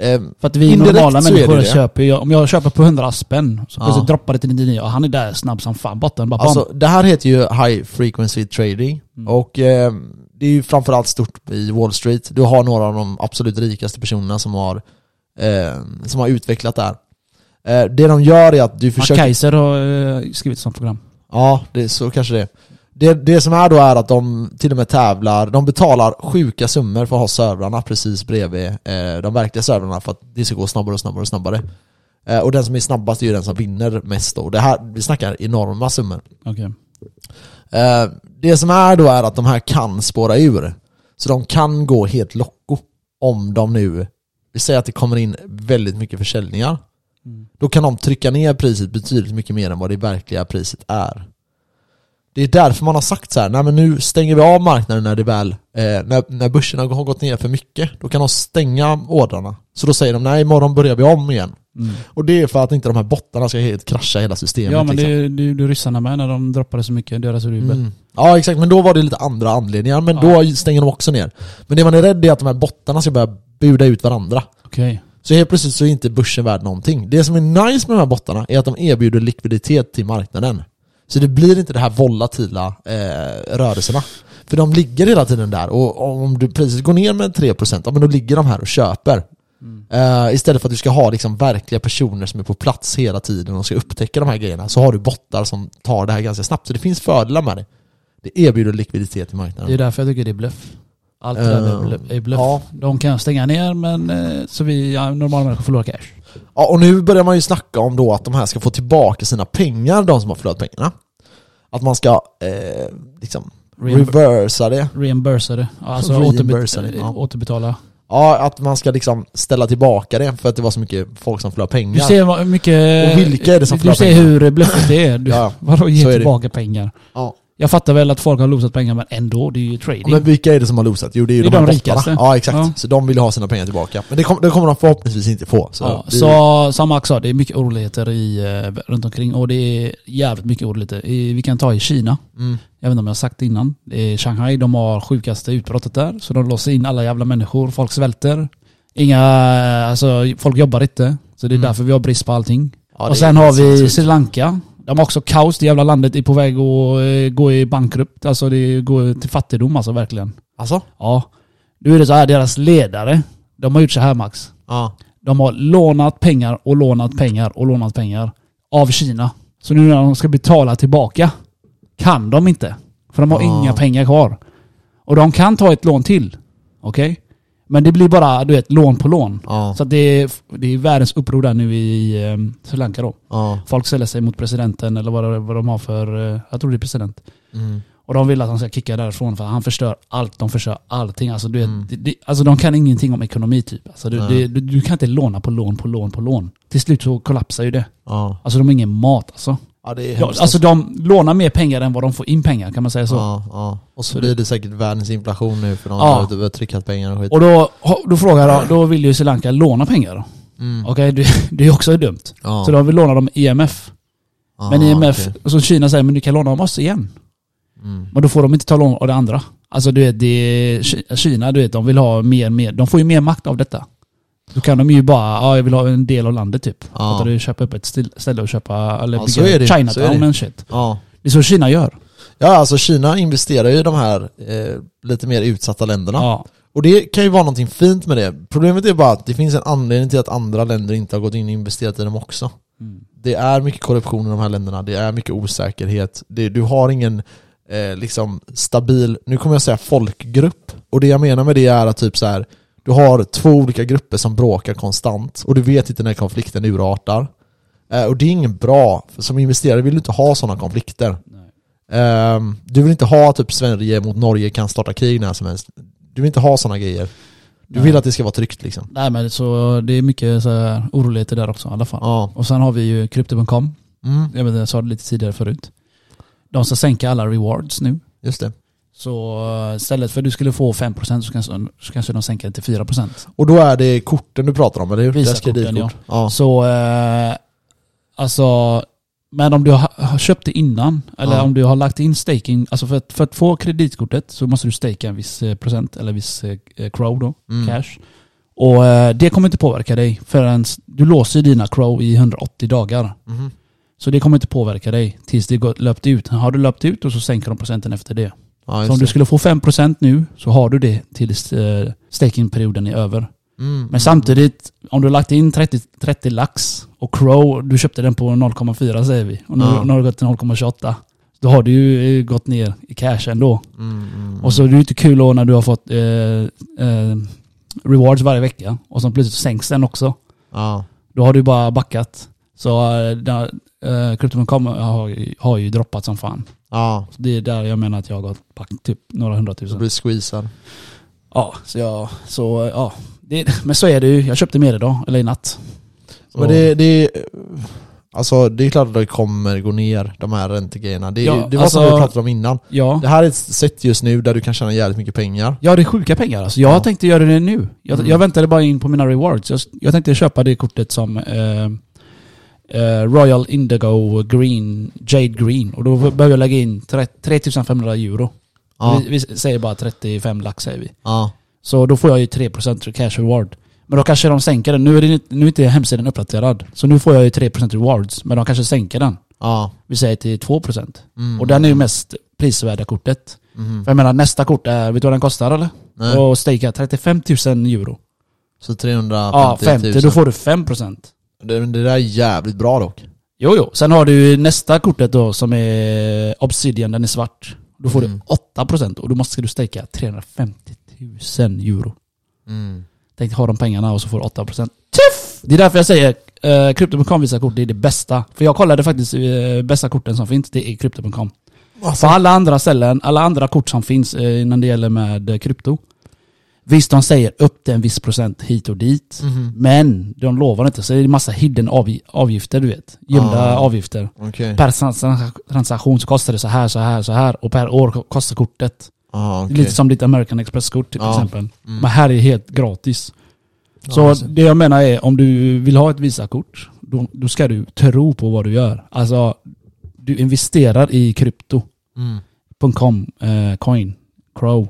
S1: Eh,
S2: För att vi
S1: Indirekt
S2: normala
S1: så är det
S2: människor
S1: det.
S2: köper ju... Om jag köper på 100 spänn så
S1: Ja.
S2: plötsligt droppar det till 99 och han är där snabb som fan. Botten bara bam.
S1: alltså det här heter ju high frequency trading.
S2: Mm.
S1: Och eh, det är ju framförallt stort i Wall Street. Du har några av de absolut rikaste personerna som har, eh, som har utvecklat det här. Eh, det de gör är att du
S2: Mark
S1: försöker...
S2: Kaiser har eh, skrivit ett sånt program.
S1: Ja, det, så kanske det är. Det, det som är då är att de till och med tävlar, de betalar sjuka summor för att ha servrarna precis bredvid eh, de verkliga servrarna för att det ska gå snabbare och snabbare och snabbare. Eh, och den som är snabbast är ju den som vinner mest då. Det här, vi snackar enorma summor.
S2: Okej.
S1: Eh, det som är då är att de här kan spåra ur. Så de kan gå helt locko om de nu, vi säger att det kommer in väldigt mycket försäljningar.
S2: Mm.
S1: Då kan de trycka ner priset betydligt mycket mer än vad det verkliga priset är. Det är därför man har sagt så här, nej men nu stänger vi av marknaden när det väl, eh, när, när börserna har gått ner för mycket. Då kan de stänga ordrarna. Så då säger de, nej imorgon börjar vi om igen. Och det är för att inte de här bottarna ska helt krascha hela systemet.
S2: Mm. Ja men det
S1: liksom.
S2: är ju det är ryssarna med när de droppade så mycket, deras rubel.
S1: Mm. Ja exakt, men då var det lite andra anledningar, men då stänger de också ner. Men det man är rädd är att de här bottarna ska börja buda ut varandra.
S2: Okej.
S1: Så helt plötsligt så är inte börsen värd någonting. Det som är nice med de här bottarna är att de erbjuder likviditet till marknaden. Så det blir inte de här volatila eh, rörelserna. För de ligger hela tiden där och om du, priset går ner med 3% ja, men då ligger de här och köper. Eh, istället för att du ska ha liksom verkliga personer som är på plats hela tiden och ska upptäcka de här grejerna så har du bottar som tar det här ganska snabbt. Så det finns fördelar med det. Det erbjuder likviditet till marknaden.
S2: Det är därför jag tycker det är bluff. Allt det
S1: Eh,
S2: där är- är bluff.
S1: ja.
S2: De kan stänga ner men eh, så vi ja, normala människor förlorar cash.
S1: Ja, och nu börjar man ju snacka om då att de här ska få tillbaka sina pengar, de som har förlorat pengarna. Att man ska eh, liksom
S2: Reimb-
S1: reversa det.
S2: Reimbursade. Ja, Alltså
S1: Reimbursade,
S2: återbet-
S1: ja.
S2: eh, återbetala.
S1: Ja, att man ska liksom ställa tillbaka det för att det var så mycket folk som förlorade
S2: Du
S1: pengar.
S2: ser vad- hur mycket...
S1: Och vilka är det som
S2: Du
S1: förlorar
S2: ser
S1: pengar?
S2: hur bluffigt det är. Du,
S1: Ja,
S2: vadå ge
S1: så är det.
S2: tillbaka pengar?
S1: Ja.
S2: Jag fattar väl att folk har losat pengar men ändå, det är ju trading.
S1: Men vilka är det som har losat? Jo det är ju
S2: Det är
S1: de, här
S2: de
S1: bottarna.
S2: rikaste.
S1: Ja exakt.
S2: Ja.
S1: Så de vill ju ha sina pengar tillbaka. Men det, kom, det kommer de förhoppningsvis inte få. Så
S2: ja,
S1: det,
S2: så som Max sa, det är mycket oroligheter i, eh, runt omkring och det är jävligt mycket oroligheter. I, vi kan ta i Kina.
S1: Mm.
S2: Jag vet inte om jag har sagt det innan. Det är Shanghai, de har sjukaste utbrottet där. Så de låser in alla jävla människor, folk svälter. Inga, alltså folk jobbar inte. Så det är
S1: Mm.
S2: därför vi har brist på allting.
S1: Ja, det
S2: och sen
S1: är
S2: har vi
S1: sinnesjukt.
S2: Sri Lanka. De har också kaos, det jävla landet är på väg att eh, gå i bankrupt. Alltså det går till fattigdom alltså verkligen.
S1: Alltså?
S2: Ja. Nu är det så här, deras ledare, de har gjort så här Max.
S1: Ja.
S2: De har lånat pengar och lånat pengar och lånat pengar av Kina. Så nu när de ska betala tillbaka kan de inte. För de har
S1: Ah.
S2: inga pengar kvar. Och de kan ta ett lån till. Okej? Men det blir bara, du vet, lån på lån.
S1: Ja.
S2: Så att det är, det är världens uppror där nu i eh, Sri Lanka då.
S1: ja.
S2: Folk ställer sig mot presidenten eller vad, det- vad de har för, eh, jag tror det är president.
S1: Mm.
S2: Och de vill att han ska kicka därifrån för han förstör allt, de förstör allting. Alltså, du vet,
S1: Mm.
S2: det, det, alltså de kan ingenting om ekonomi typ. Alltså, du,
S1: Nej.
S2: det, du, du kan inte låna på lån på lån på lån. Till slut så kollapsar ju det.
S1: Ja.
S2: Alltså de har ingen mat alltså.
S1: ja det är
S2: Ja, alltså de lånar mer pengar än vad de får in pengar kan man säga så.
S1: Ja, ja. Och så
S2: Så
S1: blir det säkert världens inflation nu för de
S2: Ja.
S1: har ja. tryckat pengar och skit.
S2: Och då, då frågar jag, då vill ju Sri Lanka låna pengar. då.
S1: Mm.
S2: Okej, det, det är också dumt.
S1: Ja.
S2: Så de vill låna dem IMF.
S1: Ja,
S2: Men E IMF,
S1: okej.
S2: så Kina säger men du kan låna av oss igen.
S1: Mm.
S2: Men då får de inte ta lån av det andra. Alltså du vet, det är Ki- Kina, du vet, de vill ha mer, mer, de får ju mer makt av detta. Då kan de ju bara, ja jag vill ha en del av landet typ.
S1: Ja.
S2: Fattar du? Köpa upp ett still- ställe och köpa, eller
S1: Ja, så är
S2: bygga
S1: det. Så är
S2: Chinatown
S1: det.
S2: och shit.
S1: Ja.
S2: Det är så Kina gör.
S1: ja, alltså Kina investerar ju i de här eh, lite mer utsatta länderna.
S2: Ja.
S1: Och det kan ju vara någonting fint med det. Problemet är bara att det finns en anledning till att andra länder inte har gått in och investerat i dem också.
S2: Mm.
S1: Det är mycket korruption i de här länderna, det är mycket osäkerhet, det, du har ingen eh, liksom stabil, nu kommer jag säga folkgrupp. Och det jag menar med det är att typ så här, du har två olika grupper som bråkar konstant och du vet inte när konflikten urartar. Eh, och det är ingen bra, för som investerare vill du inte ha sådana konflikter.
S2: Nej.
S1: Ehm, du vill inte ha typ Sverige mot Norge kan starta krig när som helst. Du vill inte ha sådana grejer. Du
S2: Nej.
S1: vill att det ska vara tryggt liksom.
S2: Nej men så det är mycket så här oroligheter där också i alla fall.
S1: Ja.
S2: Och sen har vi ju Crypto.com.
S1: Mm,
S2: Jag, vet, inte, jag sa det lite tidigare förut. De ska sänka alla rewards nu.
S1: just det.
S2: Så eh, istället för att du skulle få 5% så kanske, så kanske de sänker det till 4%.
S1: Och då är det korten du pratar om, eller hur?
S2: Visakorten,
S1: Deras kreditkort. Ja.
S2: Så, eh, alltså, men om du har har köpt det innan, eller
S1: Ja.
S2: om du har lagt in staking, alltså för att, för att få kreditkortet så måste du staka en viss eh, procent, eller viss eh, crow då,
S1: Mm.
S2: cash. Och eh, det kommer inte påverka dig förrän du låser dina crow i 180 dagar.
S1: Mhm.
S2: Så det kommer inte påverka dig tills det gått- löpt ut. Har du löpt ut och så sänker de procenten efter det.
S1: Ja,
S2: Så om
S1: just
S2: du
S1: det.
S2: skulle få 5% nu så har du det tills eh, stakingperioden är över.
S1: Mm,
S2: Men samtidigt, om du har lagt in 30, 30 lax och Crow, du köpte den på 0,4 säger vi. Och nu,
S1: Ja.
S2: nu har det gått till 0,28. Då har du ju eh, gått ner i cash ändå.
S1: mm, mm,
S2: Och så är det ju inte kul då när du har fått eh, eh, rewards varje vecka. Och så plötsligt sänks den också.
S1: Ja.
S2: Då har du bara backat. Så eh, där, eh, Crypto.com har, ju- har ju droppat som fan.
S1: Ja,
S2: Så det är där jag menar att jag har gått back typ några
S1: så
S2: hundratusen.
S1: blir squeezad.
S2: Ja, så jag, så eh, ja. Det, men så är det ju. Jag köpte mer idag, eller i natt. Så-
S1: Men det, det, alltså, det är klart att det kommer gå ner, de här räntegrejerna. Det,
S2: Ja,
S1: det var som
S2: alltså-
S1: vi pratade om innan.
S2: Ja.
S1: Det här är ett sätt just nu där du kan tjäna jävligt mycket pengar.
S2: Ja det är sjuka pengar alltså. Jag
S1: Ja.
S2: tänkte göra det nu. Jag,
S1: Mm.
S2: jag väntade bara in på mina rewards. Jag, jag tänkte köpa det kortet som eh, eh, Royal Indigo Green, Jade Green. Och då behöver jag lägga in tre- 3500 euro.
S1: Ja,
S2: Vi, vi säger bara 35 lax säger vi.
S1: ja,
S2: Så då får jag ju 3% cash reward. Men då kanske de sänker den. Nu är, det, inte- nu är inte hemsidan uppdaterad. Så nu får jag ju 3% rewards. Men de kanske sänker den.
S1: ja.
S2: Vi säger till 2%.
S1: Mm,
S2: Och den är ju mest prisvärda kortet.
S1: mm.
S2: För jag menar nästa kort är, vet du vad den kostar eller?
S1: Nej.
S2: Och stakea 35 000 euro.
S1: Så 350
S2: Ja, 50.
S1: 000.
S2: Då får du 5%.
S1: Det, det där är jävligt bra dock.
S2: Jo, jo. Sen har du ju nästa kortet då som är Obsidian, den är svart. Då får
S1: Mm.
S2: du 8% och då måste du steka 350 000 euro. Mm. Tänk ha de pengarna och så får du 8%. Tuff! Det är därför jag säger eh, Crypto.com visar kort, det är det bästa. För jag kollade faktiskt eh, bästa korten som finns, det är Crypto.com. För alla andra ställen, alla andra kort som finns eh, innan det gäller med eh, krypto. Visst, de säger upp till en viss procent hit och dit.
S1: Mhm.
S2: Men de lovar inte, så det är massa hidden avgi- avgifter du vet. Gömda
S1: Ah.
S2: avgifter.
S1: Okej.
S2: Per trans- transaktion så kostar det så här, så här, så här. Och per år ko- kostar kortet.
S1: Ah, okej.
S2: Lite som ditt American Express-kort till
S1: Ja.
S2: exempel.
S1: Mm.
S2: Men här är helt gratis. Så
S1: Ja, alltså. jag ser.
S2: det jag menar är, om du vill ha ett Visakort, då, då ska du tro på vad du gör. Alltså, du investerar i krypto.com,
S1: Mm.
S2: eh, coin, crow.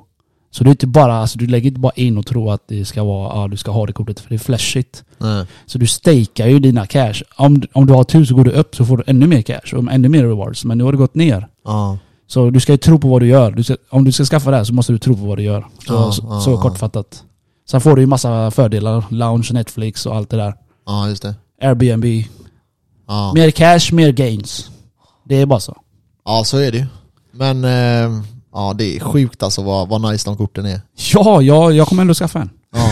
S2: Så du, inte bara, alltså, du lägger inte bara in och tror att det ska vara, ja, du ska ha det kortet, för det är flashigt.
S1: Nej.
S2: Så du stakar ju dina cash. Om, om du har tur så går du upp så får du ännu mer cash och ännu mer rewards. Men nu har det gått ner.
S1: Ja.
S2: Så du ska ju tro på vad du gör. Du ska, om du ska skaffa det här så måste du tro på vad du gör. Så,
S1: Ja,
S2: så,
S1: ja,
S2: så
S1: ja.
S2: kortfattat. Sen får du ju massa fördelar. Lounge, Netflix och allt det där.
S1: Ja, just det.
S2: Airbnb.
S1: Ja.
S2: Mer cash, mer gains. Det är bara så.
S1: ja, så är det ju. Men eh, ja, det är sjukt alltså vad, vad nice de korten är.
S2: Ja, ja jag kommer ändå skaffa en.
S1: Ja,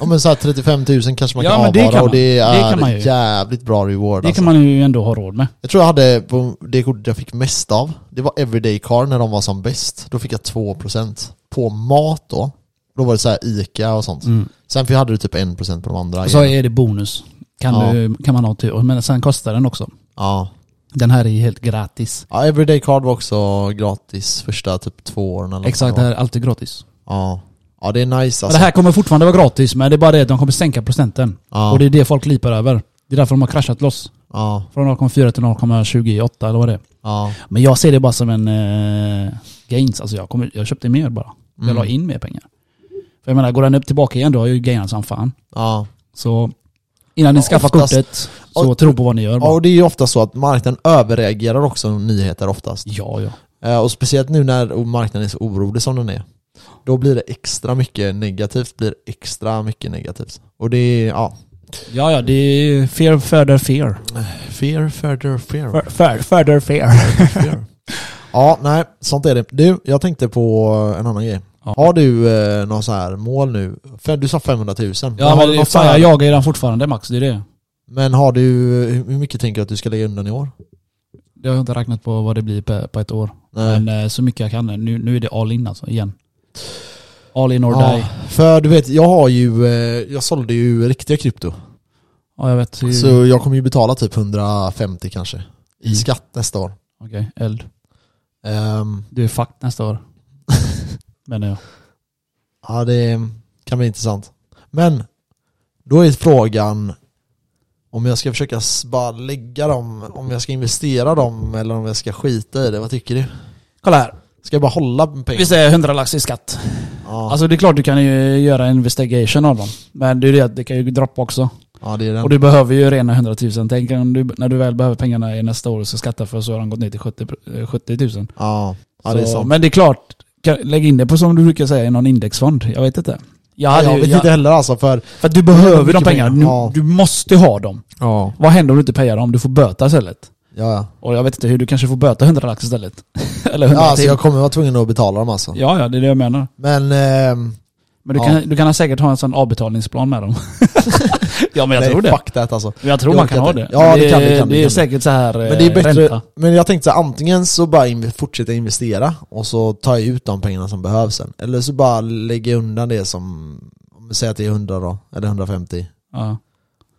S1: ja men så här 35 000 kanske man
S2: Ja,
S1: kan
S2: men det
S1: avvara
S2: kan
S1: och
S2: man.
S1: det
S2: Det
S1: är
S2: kan man ju.
S1: jävligt bra reward
S2: Det
S1: alltså.
S2: kan man ju ändå ha råd med.
S1: Jag tror jag hade på det kortet jag fick mest av, det var Everyday Car när de var som bäst. Då fick jag 2% på mat då. Då var det så här Ica och sånt. Sen för jag hade du typ 1% på de andra.
S2: Mm. Och så är det bonus. Kan,
S1: Ja.
S2: du, kan man ha tur. Men sen kostar den också.
S1: Ja.
S2: Den här är ju helt gratis.
S1: ja, Everyday Card var också gratis första typ två åren eller
S2: Exakt,
S1: vad
S2: det här
S1: var.
S2: är alltid gratis.
S1: Ja. ja, det är nice
S2: Och
S1: alltså.
S2: Det här kommer fortfarande vara gratis men det är bara det att de kommer sänka procenten.
S1: alltså. Ja.
S2: Och det är det folk lipar över. Det är därför de har kraschat loss.
S1: Ja,
S2: Från 0,4 till 0,28 eller vad det är.
S1: ja.
S2: Men jag ser det bara som en eh, gains. Alltså jag, kommer, jag köpte mer bara.
S1: Mm.
S2: Jag la in mer pengar. För jag menar, går den upp tillbaka igen då har jag ju gainat som fan.
S1: ja.
S2: Så innan ni
S1: Ja,
S2: skaffar
S1: oftast-
S2: kortet, så
S1: och-
S2: tro på vad ni gör
S1: Ja,
S2: bara.
S1: och det är ju ofta så att marknaden överreagerar också nyheter oftast.
S2: Ja, ja.
S1: Eh, Och speciellt nu när marknaden är så orolig som den är. Då blir det extra mycket negativt, blir extra mycket negativt. Och det är, ja.
S2: Ja, ja, det är fear, further fear.
S1: Fear, further, fear.
S2: Fur, further fear.
S1: fear. ja, nej, sånt är det. Du, jag tänkte på en annan grej.
S2: Ja.
S1: Har du eh, någon så här mål nu? Fe- Du sa 500 000.
S2: Ja,
S1: har
S2: men
S1: du något
S2: det, fan,
S1: så här-
S2: jag jagar ju den fortfarande Max, det är det.
S1: men har du, hur mycket tänker du att du ska lägga undan i år?
S2: Jag har inte räknat på vad det blir på, på ett år.
S1: Nej.
S2: Men eh, så mycket jag kan. Nu, nu är det all in alltså, igen. All in or die.
S1: Ja, för du vet, jag har ju, eh, jag sålde ju riktiga krypto.
S2: Ja, jag vet. hur-
S1: Så jag kommer ju betala typ 150 kanske i
S2: Mm.
S1: skatt nästa år.
S2: Okej, eld.
S1: Ehm,
S2: Du är fucked nästa år. Menar jag.
S1: ja, det kan bli intressant. Men då är frågan om jag ska försöka s- bara lägga dem, om jag ska investera dem eller om jag ska skita i det. Vad tycker du?
S2: Kolla här.
S1: Ska jag bara hålla pengarna?
S2: Vi säger 100 lax i skatt.
S1: Ja,
S2: Alltså det är klart du kan ju göra en investigation av dem. Men det är ju det att det kan ju droppa också.
S1: ja det är den.
S2: Och du behöver ju rena 100 000. Tänk om du, när du väl behöver pengarna i nästa år och ska skatta för så har de gått ner till 70, eh, 70 000.
S1: Ja, ja det är
S2: Så-
S1: sant.
S2: Men det är klart, kan- lägg in det på som du brukar säga i någon indexfond. Jag vet inte. Jag hade
S1: jag
S2: ju-
S1: vet inte heller alltså för...
S2: För att du behöver de
S1: Mycket
S2: pengarna.
S1: pengar.
S2: Du,
S1: Ja.
S2: du måste ha dem.
S1: Ja,
S2: Vad händer om du inte payar dem? Du får böta istället.
S1: ja. ja.
S2: Och jag vet inte hur, du kanske får böta 100 lax istället. Eller 100
S1: ja alltså,
S2: till.
S1: jag kommer vara tvungen att betala dem alltså.
S2: Ja, ja, det är det jag menar.
S1: Men... ehm,
S2: Men du,
S1: Ja.
S2: kan, du kan säkert ha en sån avbetalningsplan med dem. ja, men jag
S1: nej,
S2: tror det. Eh,
S1: fuck that alltså.
S2: Jag tror
S1: Jag
S2: man kan
S1: orkar
S2: ha
S1: inte.
S2: det.
S1: Ja,
S2: Men
S1: det kan- det kan- det
S2: Det är
S1: kan.
S2: säkert så här eh,
S1: Men det är bättre,
S2: ränta.
S1: men jag tänkte så här, antingen så bara in, fortsätta investera och så tar jag ut de pengarna som behövs sen. Eller så bara lägger jag undan det som, om vi säger att det är 100 då, eller 150.
S2: Ja.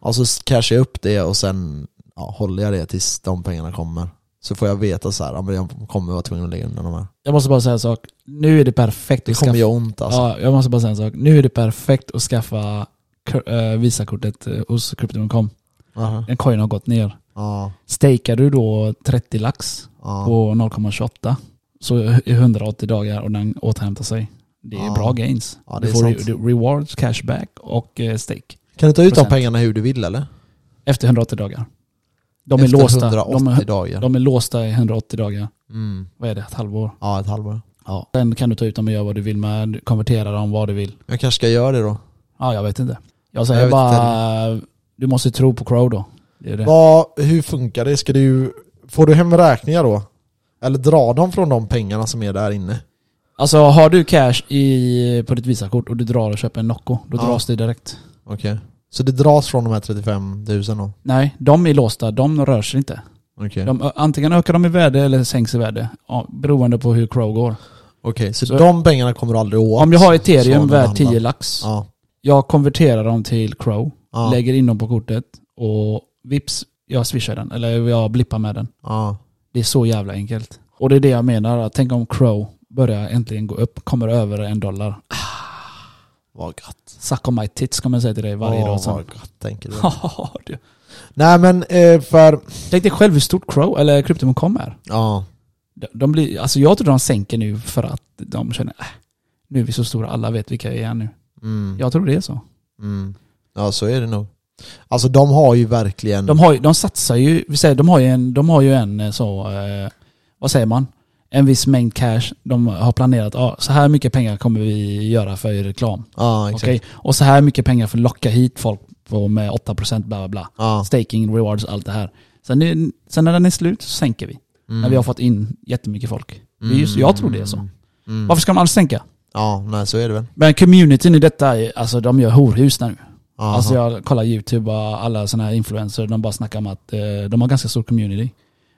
S1: Och så cashar jag upp det och sen ja, håller jag det tills de pengarna kommer. Så får jag veta så här, ja, men jag kommer vara tvungen att lägga undan de här.
S2: Jag måste bara säga en sak. Nu är det perfekt
S1: Det
S2: att skaffa...
S1: kommer göra ont alltså.
S2: Ja, jag måste bara säga en sak. Nu är det perfekt att skaffa uh, Visakortet eh, hos Crypto.com.
S1: Aha.
S2: En coin har gått ner.
S1: Ja,
S2: Stakar du då 30 lax
S1: ja.
S2: på 0,28 så i 180 dagar och den återhämtar sig. Det är
S1: Ja.
S2: bra gains.
S1: Ja, det
S2: du
S1: är
S2: får
S1: sant.
S2: ju- du- rewards, cashback och eh, stake.
S1: Kan du ta ut de
S2: procent.
S1: pengarna hur du vill eller?
S2: Efter 180 dagar. De är
S1: Efter
S2: låsta.
S1: 180
S2: De är,
S1: dagar.
S2: de är låsta i 180 dagar.
S1: Mm.
S2: Vad är det? Ett halvår?
S1: Ja, ett halvår.
S2: Ja. Sen kan du ta ut dem och göra vad du vill med. Konvertera dem vad du vill.
S1: Jag kanske ska göra det då.
S2: Ja, jag vet inte. Jag
S1: Jag
S2: säger
S1: vet
S2: bara... Du måste tro på Crow då. Det är det.
S1: Vad, hur funkar det? Ska du, får du hem räkningar då? Eller drar de från de pengarna som är där inne?
S2: Alltså har du cash i, på ditt Visakort och du drar och köper en Nocco, då
S1: Ja.
S2: dras det direkt.
S1: Okej. Så det dras från de här 35 000 då?
S2: Nej, de är låsta. De rör sig inte.
S1: Okej.
S2: De, antingen ökar de i värde eller sänks i värde. Ja, beroende på hur Crow går.
S1: Okej, så,
S2: Så-
S1: de pengarna kommer du aldrig åt?
S2: Om jag har ethereum
S1: Så den
S2: värt
S1: handlar.
S2: 10 lax,
S1: Ja.
S2: jag konverterar dem till crow,
S1: Ja.
S2: lägger in dem på kortet och vips, jag swishar den. Eller jag blippar med den.
S1: ja.
S2: Det är så jävla enkelt. Och det är det jag menar. att Tänk om crow börjar äntligen gå upp, kommer över en dollar.
S1: Vad gött.
S2: Suck on my tits kommer jag säga till dig varje
S1: Åh,
S2: dag sen.
S1: Vad gött, tänker du.
S2: Ja, du.
S1: Nej men eh, för...
S2: Tänk dig själv hur stort Crow, eller Crypto.com är.
S1: Ja.
S2: De- De blir, alltså jag tror de sänker nu för att de känner äh, nu är vi så stora, alla vet vilka vi är nu.
S1: Mm.
S2: Jag tror det är så.
S1: Mm. Ja, så är det nog. Alltså de har ju verkligen...
S2: De, har, ju- de satsar ju, vi säger, de har ju en, de har ju en eh, så, eh, vad säger man? En viss mängd cash. De har planerat, ah, så här mycket pengar kommer vi göra för reklam.
S1: Ja, exakt.
S2: Okej? Och så här mycket pengar för att locka hit folk på med 8% bla bla bla.
S1: Ja.
S2: Staking, rewards, allt det här. Sen, är- sen när den är slut så sänker vi.
S1: Mm.
S2: När vi har fått in jättemycket folk. Det är just, jag tror det är så.
S1: Mm.
S2: Varför ska man alls sänka?
S1: Ja, nej så är det väl.
S2: Men communityn i detta, är, alltså de gör horhus där nu.
S1: Aha.
S2: Alltså jag kollar YouTube och alla sådana här influencers, de bara snackar om att eh, de har ganska stor community.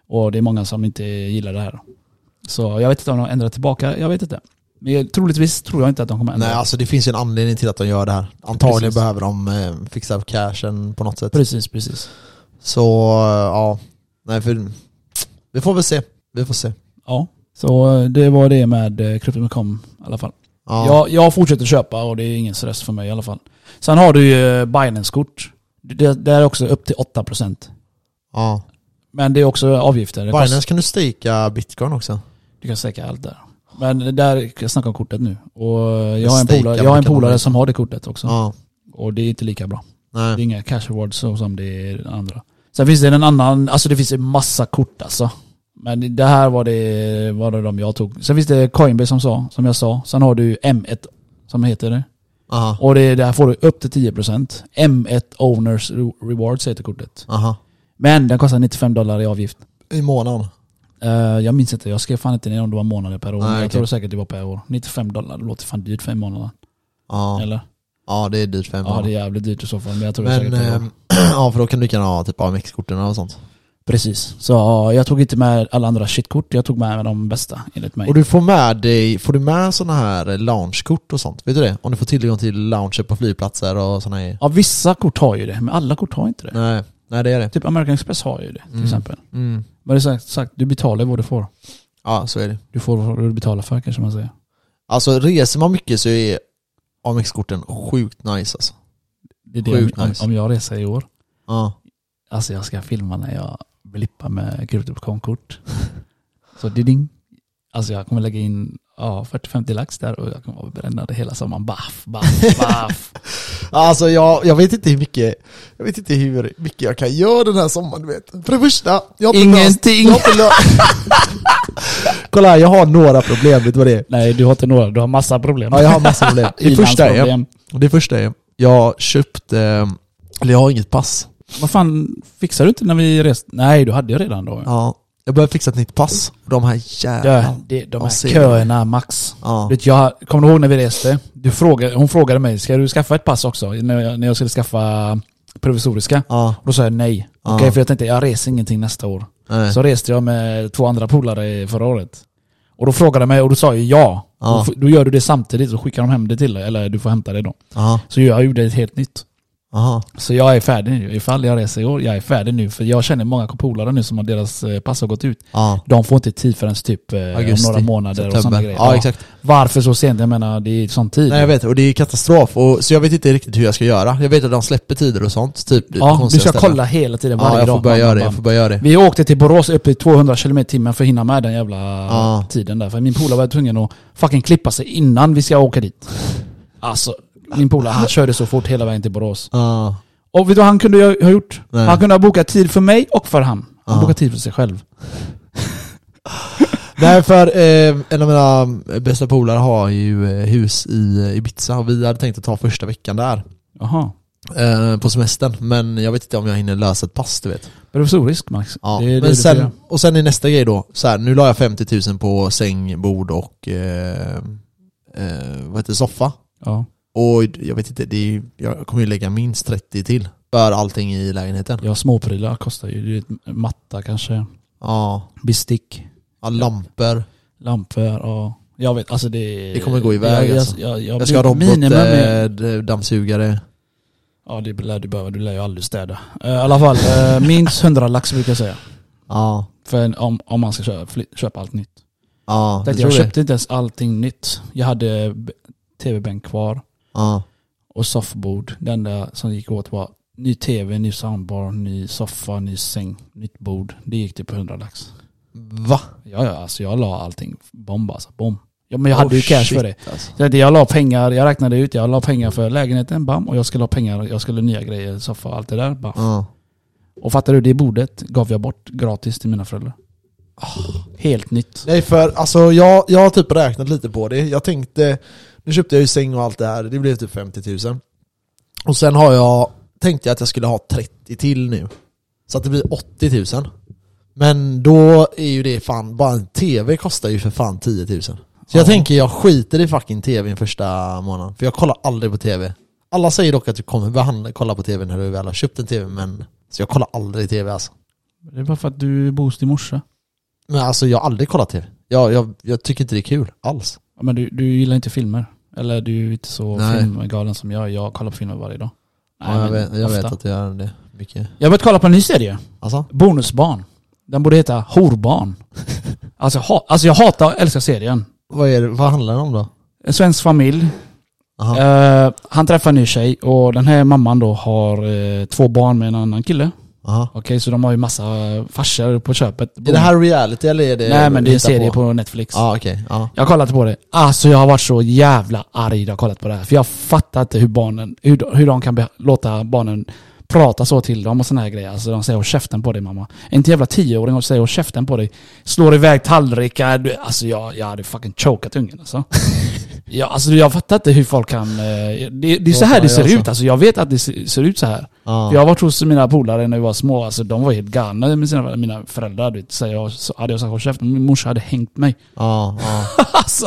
S2: Och det är många som inte gillar det här. Så jag vet inte om de ändrar tillbaka, jag vet inte. Men jag- troligtvis tror jag inte att de kommer ändra.
S1: Nej, alltså det finns ju en anledning till att de gör det här. Antagligen
S2: Precis.
S1: behöver de eh, fixa cashen på något sätt.
S2: Precis, precis.
S1: Så, eh, ja. Nej, för... Vi får väl se. Vi får se.
S2: Ja. Så eh, det var det med eh, Crypto.com i alla fall.
S1: Ja.
S2: Jag, jag fortsätter köpa och det är ingen stress för mig i alla fall. Sen har du ju eh, Binance-kort. Det, det är också upp till 8%.
S1: ja.
S2: Men det är också avgifter. Det Mm.
S1: Binance kan du steka bitcoin också.
S2: Du kan steka allt där. Men det där, jag snackar om kortet nu. Och jag har en
S1: Steka,
S2: polare,
S1: men
S2: jag har en
S1: kan man
S2: polare
S1: inte.
S2: som har det kortet också.
S1: Ja.
S2: Och det är inte lika bra. Det är
S1: Nej.
S2: inga cash rewards så som det är den andra. Sen finns det en annan, alltså det finns en massa kort alltså. Men det här var det, var det de jag tog. Sen finns det Coinbase som sa, som jag sa. Sen har du M1 som heter det.
S1: Aha.
S2: Och det, där får du upp till 10%. M1 Owners Re- Rewards heter kortet.
S1: Aha.
S2: Men den kostar 95 dollar i avgift.
S1: I månaden.
S2: Eh, jag minns inte, jag skrev fan inte ner om det var månader per år.
S1: Nej,
S2: men jag
S1: okej.
S2: tror säkert det var per år. 95 dollar, det låter fan dyrt för en månad.
S1: Ja.
S2: Eller?
S1: ja, det är dyrt för en
S2: Ja det är
S1: månad.
S2: jävligt dyrt i så fall. Men jag tror det
S1: Men,
S2: säkert per år.
S1: eh, ja för då kan du kan ha typ AMX-korten och sånt.
S2: Precis. Så ja, jag tog inte med alla andra shitkort, jag tog med de bästa enligt mig.
S1: Och du får med dig, får du med sådana här loungekort och sånt? Vet du det? Om du får tillgång till lounger på flygplatser och sådana här
S2: Ja vissa kort har ju det, men alla kort har inte det.
S1: Nej, nej det är det.
S2: Typ American Express har ju det till
S1: Mm.
S2: exempel. Men det är sagt, sagt, du betalar vad du får.
S1: Ja, så är det.
S2: Du får vad du betalar för kanske man säger.
S1: Alltså reser man mycket så är AMX-korten sjukt nice alltså.
S2: Det är det
S1: Sjukt
S2: om,
S1: nice.
S2: om jag reser i år.
S1: Ja.
S2: Alltså jag ska filma när jag blippar med kryptokomkort. Så diding. Alltså jag kommer lägga in ja, 40-50 lax där och jag kommer vara brännande hela sommaren. Baff, baff, baff.
S1: Alltså jag, jag vet inte hur mycket, jag vet inte hur mycket jag kan göra den här sommaren du vet. För det första, jag har inte löst-
S2: Ingenting!
S1: jag har inte löst- Kolla här, jag har några problem, vet du vad det är?
S2: Nej, du har inte några. Du har massa problem.
S1: Ja, jag har massa problem. Det första är,
S2: Ilandsproblem.
S1: det första är, jag köpte, eller jag har inget pass.
S2: Vad fan, fixar du inte när vi reste? Nej, du hade ju redan då.
S1: Ja, jag behöver fixa ett nytt pass. Och de här
S2: Dö,
S1: jävla...
S2: det, de
S1: Ja,
S2: här
S1: ser du.
S2: köerna, Max.
S1: Ja.
S2: Vet, jag, kommer du ihåg när vi reste? Du frågade, hon frågade mig, ska du skaffa ett pass också? När jag, när jag skulle skaffa provisoriska.
S1: Ja.
S2: Och då sa jag nej.
S1: Ja.
S2: Okej, för jag tänkte jag reser ingenting nästa år.
S1: Nej.
S2: Så reste jag med två andra polare förra året. Och då frågade de mig och då sa jag ja.
S1: Ja.
S2: Då, f- då gör du det samtidigt så skickar de hem det till dig. Eller du får hämta det då.
S1: Aha.
S2: Så jag gjorde ett helt nytt.
S1: Aha.
S2: Så jag är färdig nu. Ifall jag reser i år, jag är färdig nu. För jag känner många polare nu som har deras eh, pass har gått ut.
S1: Ja.
S2: De får inte tid förrän typ eh,
S1: Augusti,
S2: om några månader och sådana
S1: september.
S2: grejer.
S1: Ja, exakt.
S2: Varför så sent? Jag menar, det är sån tid.
S1: Nej jag vet, och det är katastrof. Och, så jag vet inte riktigt hur jag ska göra. Jag vet att de släpper tider och sånt. Typ
S2: ja, du
S1: konstiga
S2: ska
S1: ställen.
S2: kolla hela tiden, varje
S1: Ja, jag
S2: dag.
S1: får börja
S2: Bam,
S1: göra
S2: bam,
S1: det. Jag
S2: bam.
S1: får börja göra det.
S2: Vi åkte till Borås upp i 200 km i timmen för att hinna med den jävla
S1: Ja.
S2: tiden där. För min polare var tvungen att fucking klippa sig innan vi ska åka dit. Alltså, min polare han körde så fort hela vägen till Borås.
S1: Ja.
S2: Och vet du vad han kunde ha- ha gjort?
S1: Nej.
S2: Han kunde ha bokat tid för mig och för han. Han
S1: Ja.
S2: bokade tid för sig själv.
S1: Nej för eh, en av mina bästa polare har ju eh, hus i eh, Ibiza och vi hade tänkt att ta första veckan där.
S2: Jaha.
S1: Eh, på semestern. Men jag vet inte om jag hinner lösa ett pass du vet.
S2: Provisorisk Max.
S1: Ja,
S2: Det är det
S1: men
S2: du får
S1: sen,
S2: göra.
S1: och sen är nästa grej då, så här, nu la jag 50 000 på säng, bord och eh, eh, vad heter det, soffa.
S2: Ja.
S1: Och jag vet inte, det är, jag kommer ju lägga minst 30 till för allting i lägenheten. Ja,
S2: ja, småprylar kostar ju. Du vet, Matta kanske.
S1: ja,
S2: Bestick.
S1: lampor.
S2: Lampor. Ja. Jag vet, alltså det...
S1: Det kommer gå iväg,
S2: jag,
S1: alltså.
S2: jag, jag, jag,
S1: Jag ska ha eh,
S2: minimum är-
S1: robotdammsugare.
S2: Ja det lär du behöva, du lär ju aldrig städa. Eh, I alla fall, eh, minst 100 lax brukar jag säga.
S1: Ja.
S2: För en- om, om man ska köpa, fly- köpa allt nytt.
S1: Ja, jag
S2: Jag,
S1: tror
S2: jag
S1: det.
S2: köpte inte ens allting nytt. Jag hade b- tv-bänk kvar
S1: Ja.
S2: och soffbord. Det enda som gick åt var ny tv, ny soundbar, ny soffa, ny säng, nytt bord. Det gick typ på 100 lax.
S1: Va?
S2: Ja, ja, alltså jag la allting bomb alltså. Bomb. Ja, men jag hade ju
S1: Oh,
S2: cash
S1: shit,
S2: för det.
S1: Alltså.
S2: Jag, jag la pengar, jag räknade ut, jag la pengar för lägenheten, bam. Och jag skulle ha pengar, jag skulle ha nya grejer, soffa och allt det där, bam.
S1: Ja.
S2: Och fattar du, det bordet gav jag bort gratis till mina föräldrar. Ah, Helt nytt.
S1: Nej för alltså jag, jag har typ räknat lite på det. Jag tänkte, nu köpte jag ju säng och allt det här, det blev typ 50 000. Och sen har jag, tänkte jag att jag skulle ha 30 till nu. Så att det blir 80 000. Men då är ju det fan, bara en TV kostar ju för fan 10 000. Så
S2: Ja.
S1: jag tänker jag skiter i fucking TVn första månaden, för jag kollar aldrig på TV. Alla säger dock att du kommer behandla, kolla på TV när du väl har köpt en TV, men så jag kollar aldrig TV alltså.
S2: Det är bara för att du är boost i morse.
S1: Men alltså jag har aldrig kollat TV. Jag, jag, jag tycker inte det är kul alls.
S2: Ja, men du, du gillar inte filmer. Eller du är inte så
S1: Nej.
S2: filmgalen som jag. är. Jag kollar på filmer varje dag.
S1: Ja, jag
S2: men
S1: vet, jag vet
S2: ofta.
S1: att jag gör det mycket.
S2: Jag har börjat kolla på en ny serie.
S1: Alltså?
S2: Bonusbarn. Den borde heta Horbarn. alltså, ha, alltså jag hatar och älskar serien.
S1: Vad, är det, vad handlar det om då?
S2: En svensk familj.
S1: Aha.
S2: Eh, han träffar en ny tjej och den här mamman då har eh, två barn med en annan kille.
S1: Aha.
S2: Okej, så de har ju massa eh, farsor på köpet.
S1: Är det här reality eller är det...
S2: Nej men det är en
S1: hitta
S2: serie på, Netflix.
S1: Ja okej, ja.
S2: Jag har kollat på det. Alltså jag har varit så jävla arg när jag har kollat på det här. För jag fattar inte hur barnen, hur, de- hur de kan be- låta barnen prata så till dem och såna här grejer. Alltså de säger åt käften på dig mamma. En jävla tioåring och säger åt käften på dig. Slår iväg tallrikar. Du- Alltså jag, jag hade fucking chokat ungen alltså. ja, alltså jag fattar inte hur folk kan... eh, Det, det är så här det ser ut alltså. Jag vet att det ser ser ut så här.
S1: ja.
S2: För Jag har varit hos mina polare när vi var små, alltså de var helt galna med sina, mina föräldrar. Du vet. Så jag, så hade jag sagt håll käften, min morsa hade hängt mig.
S1: ja, ja.
S2: Alltså,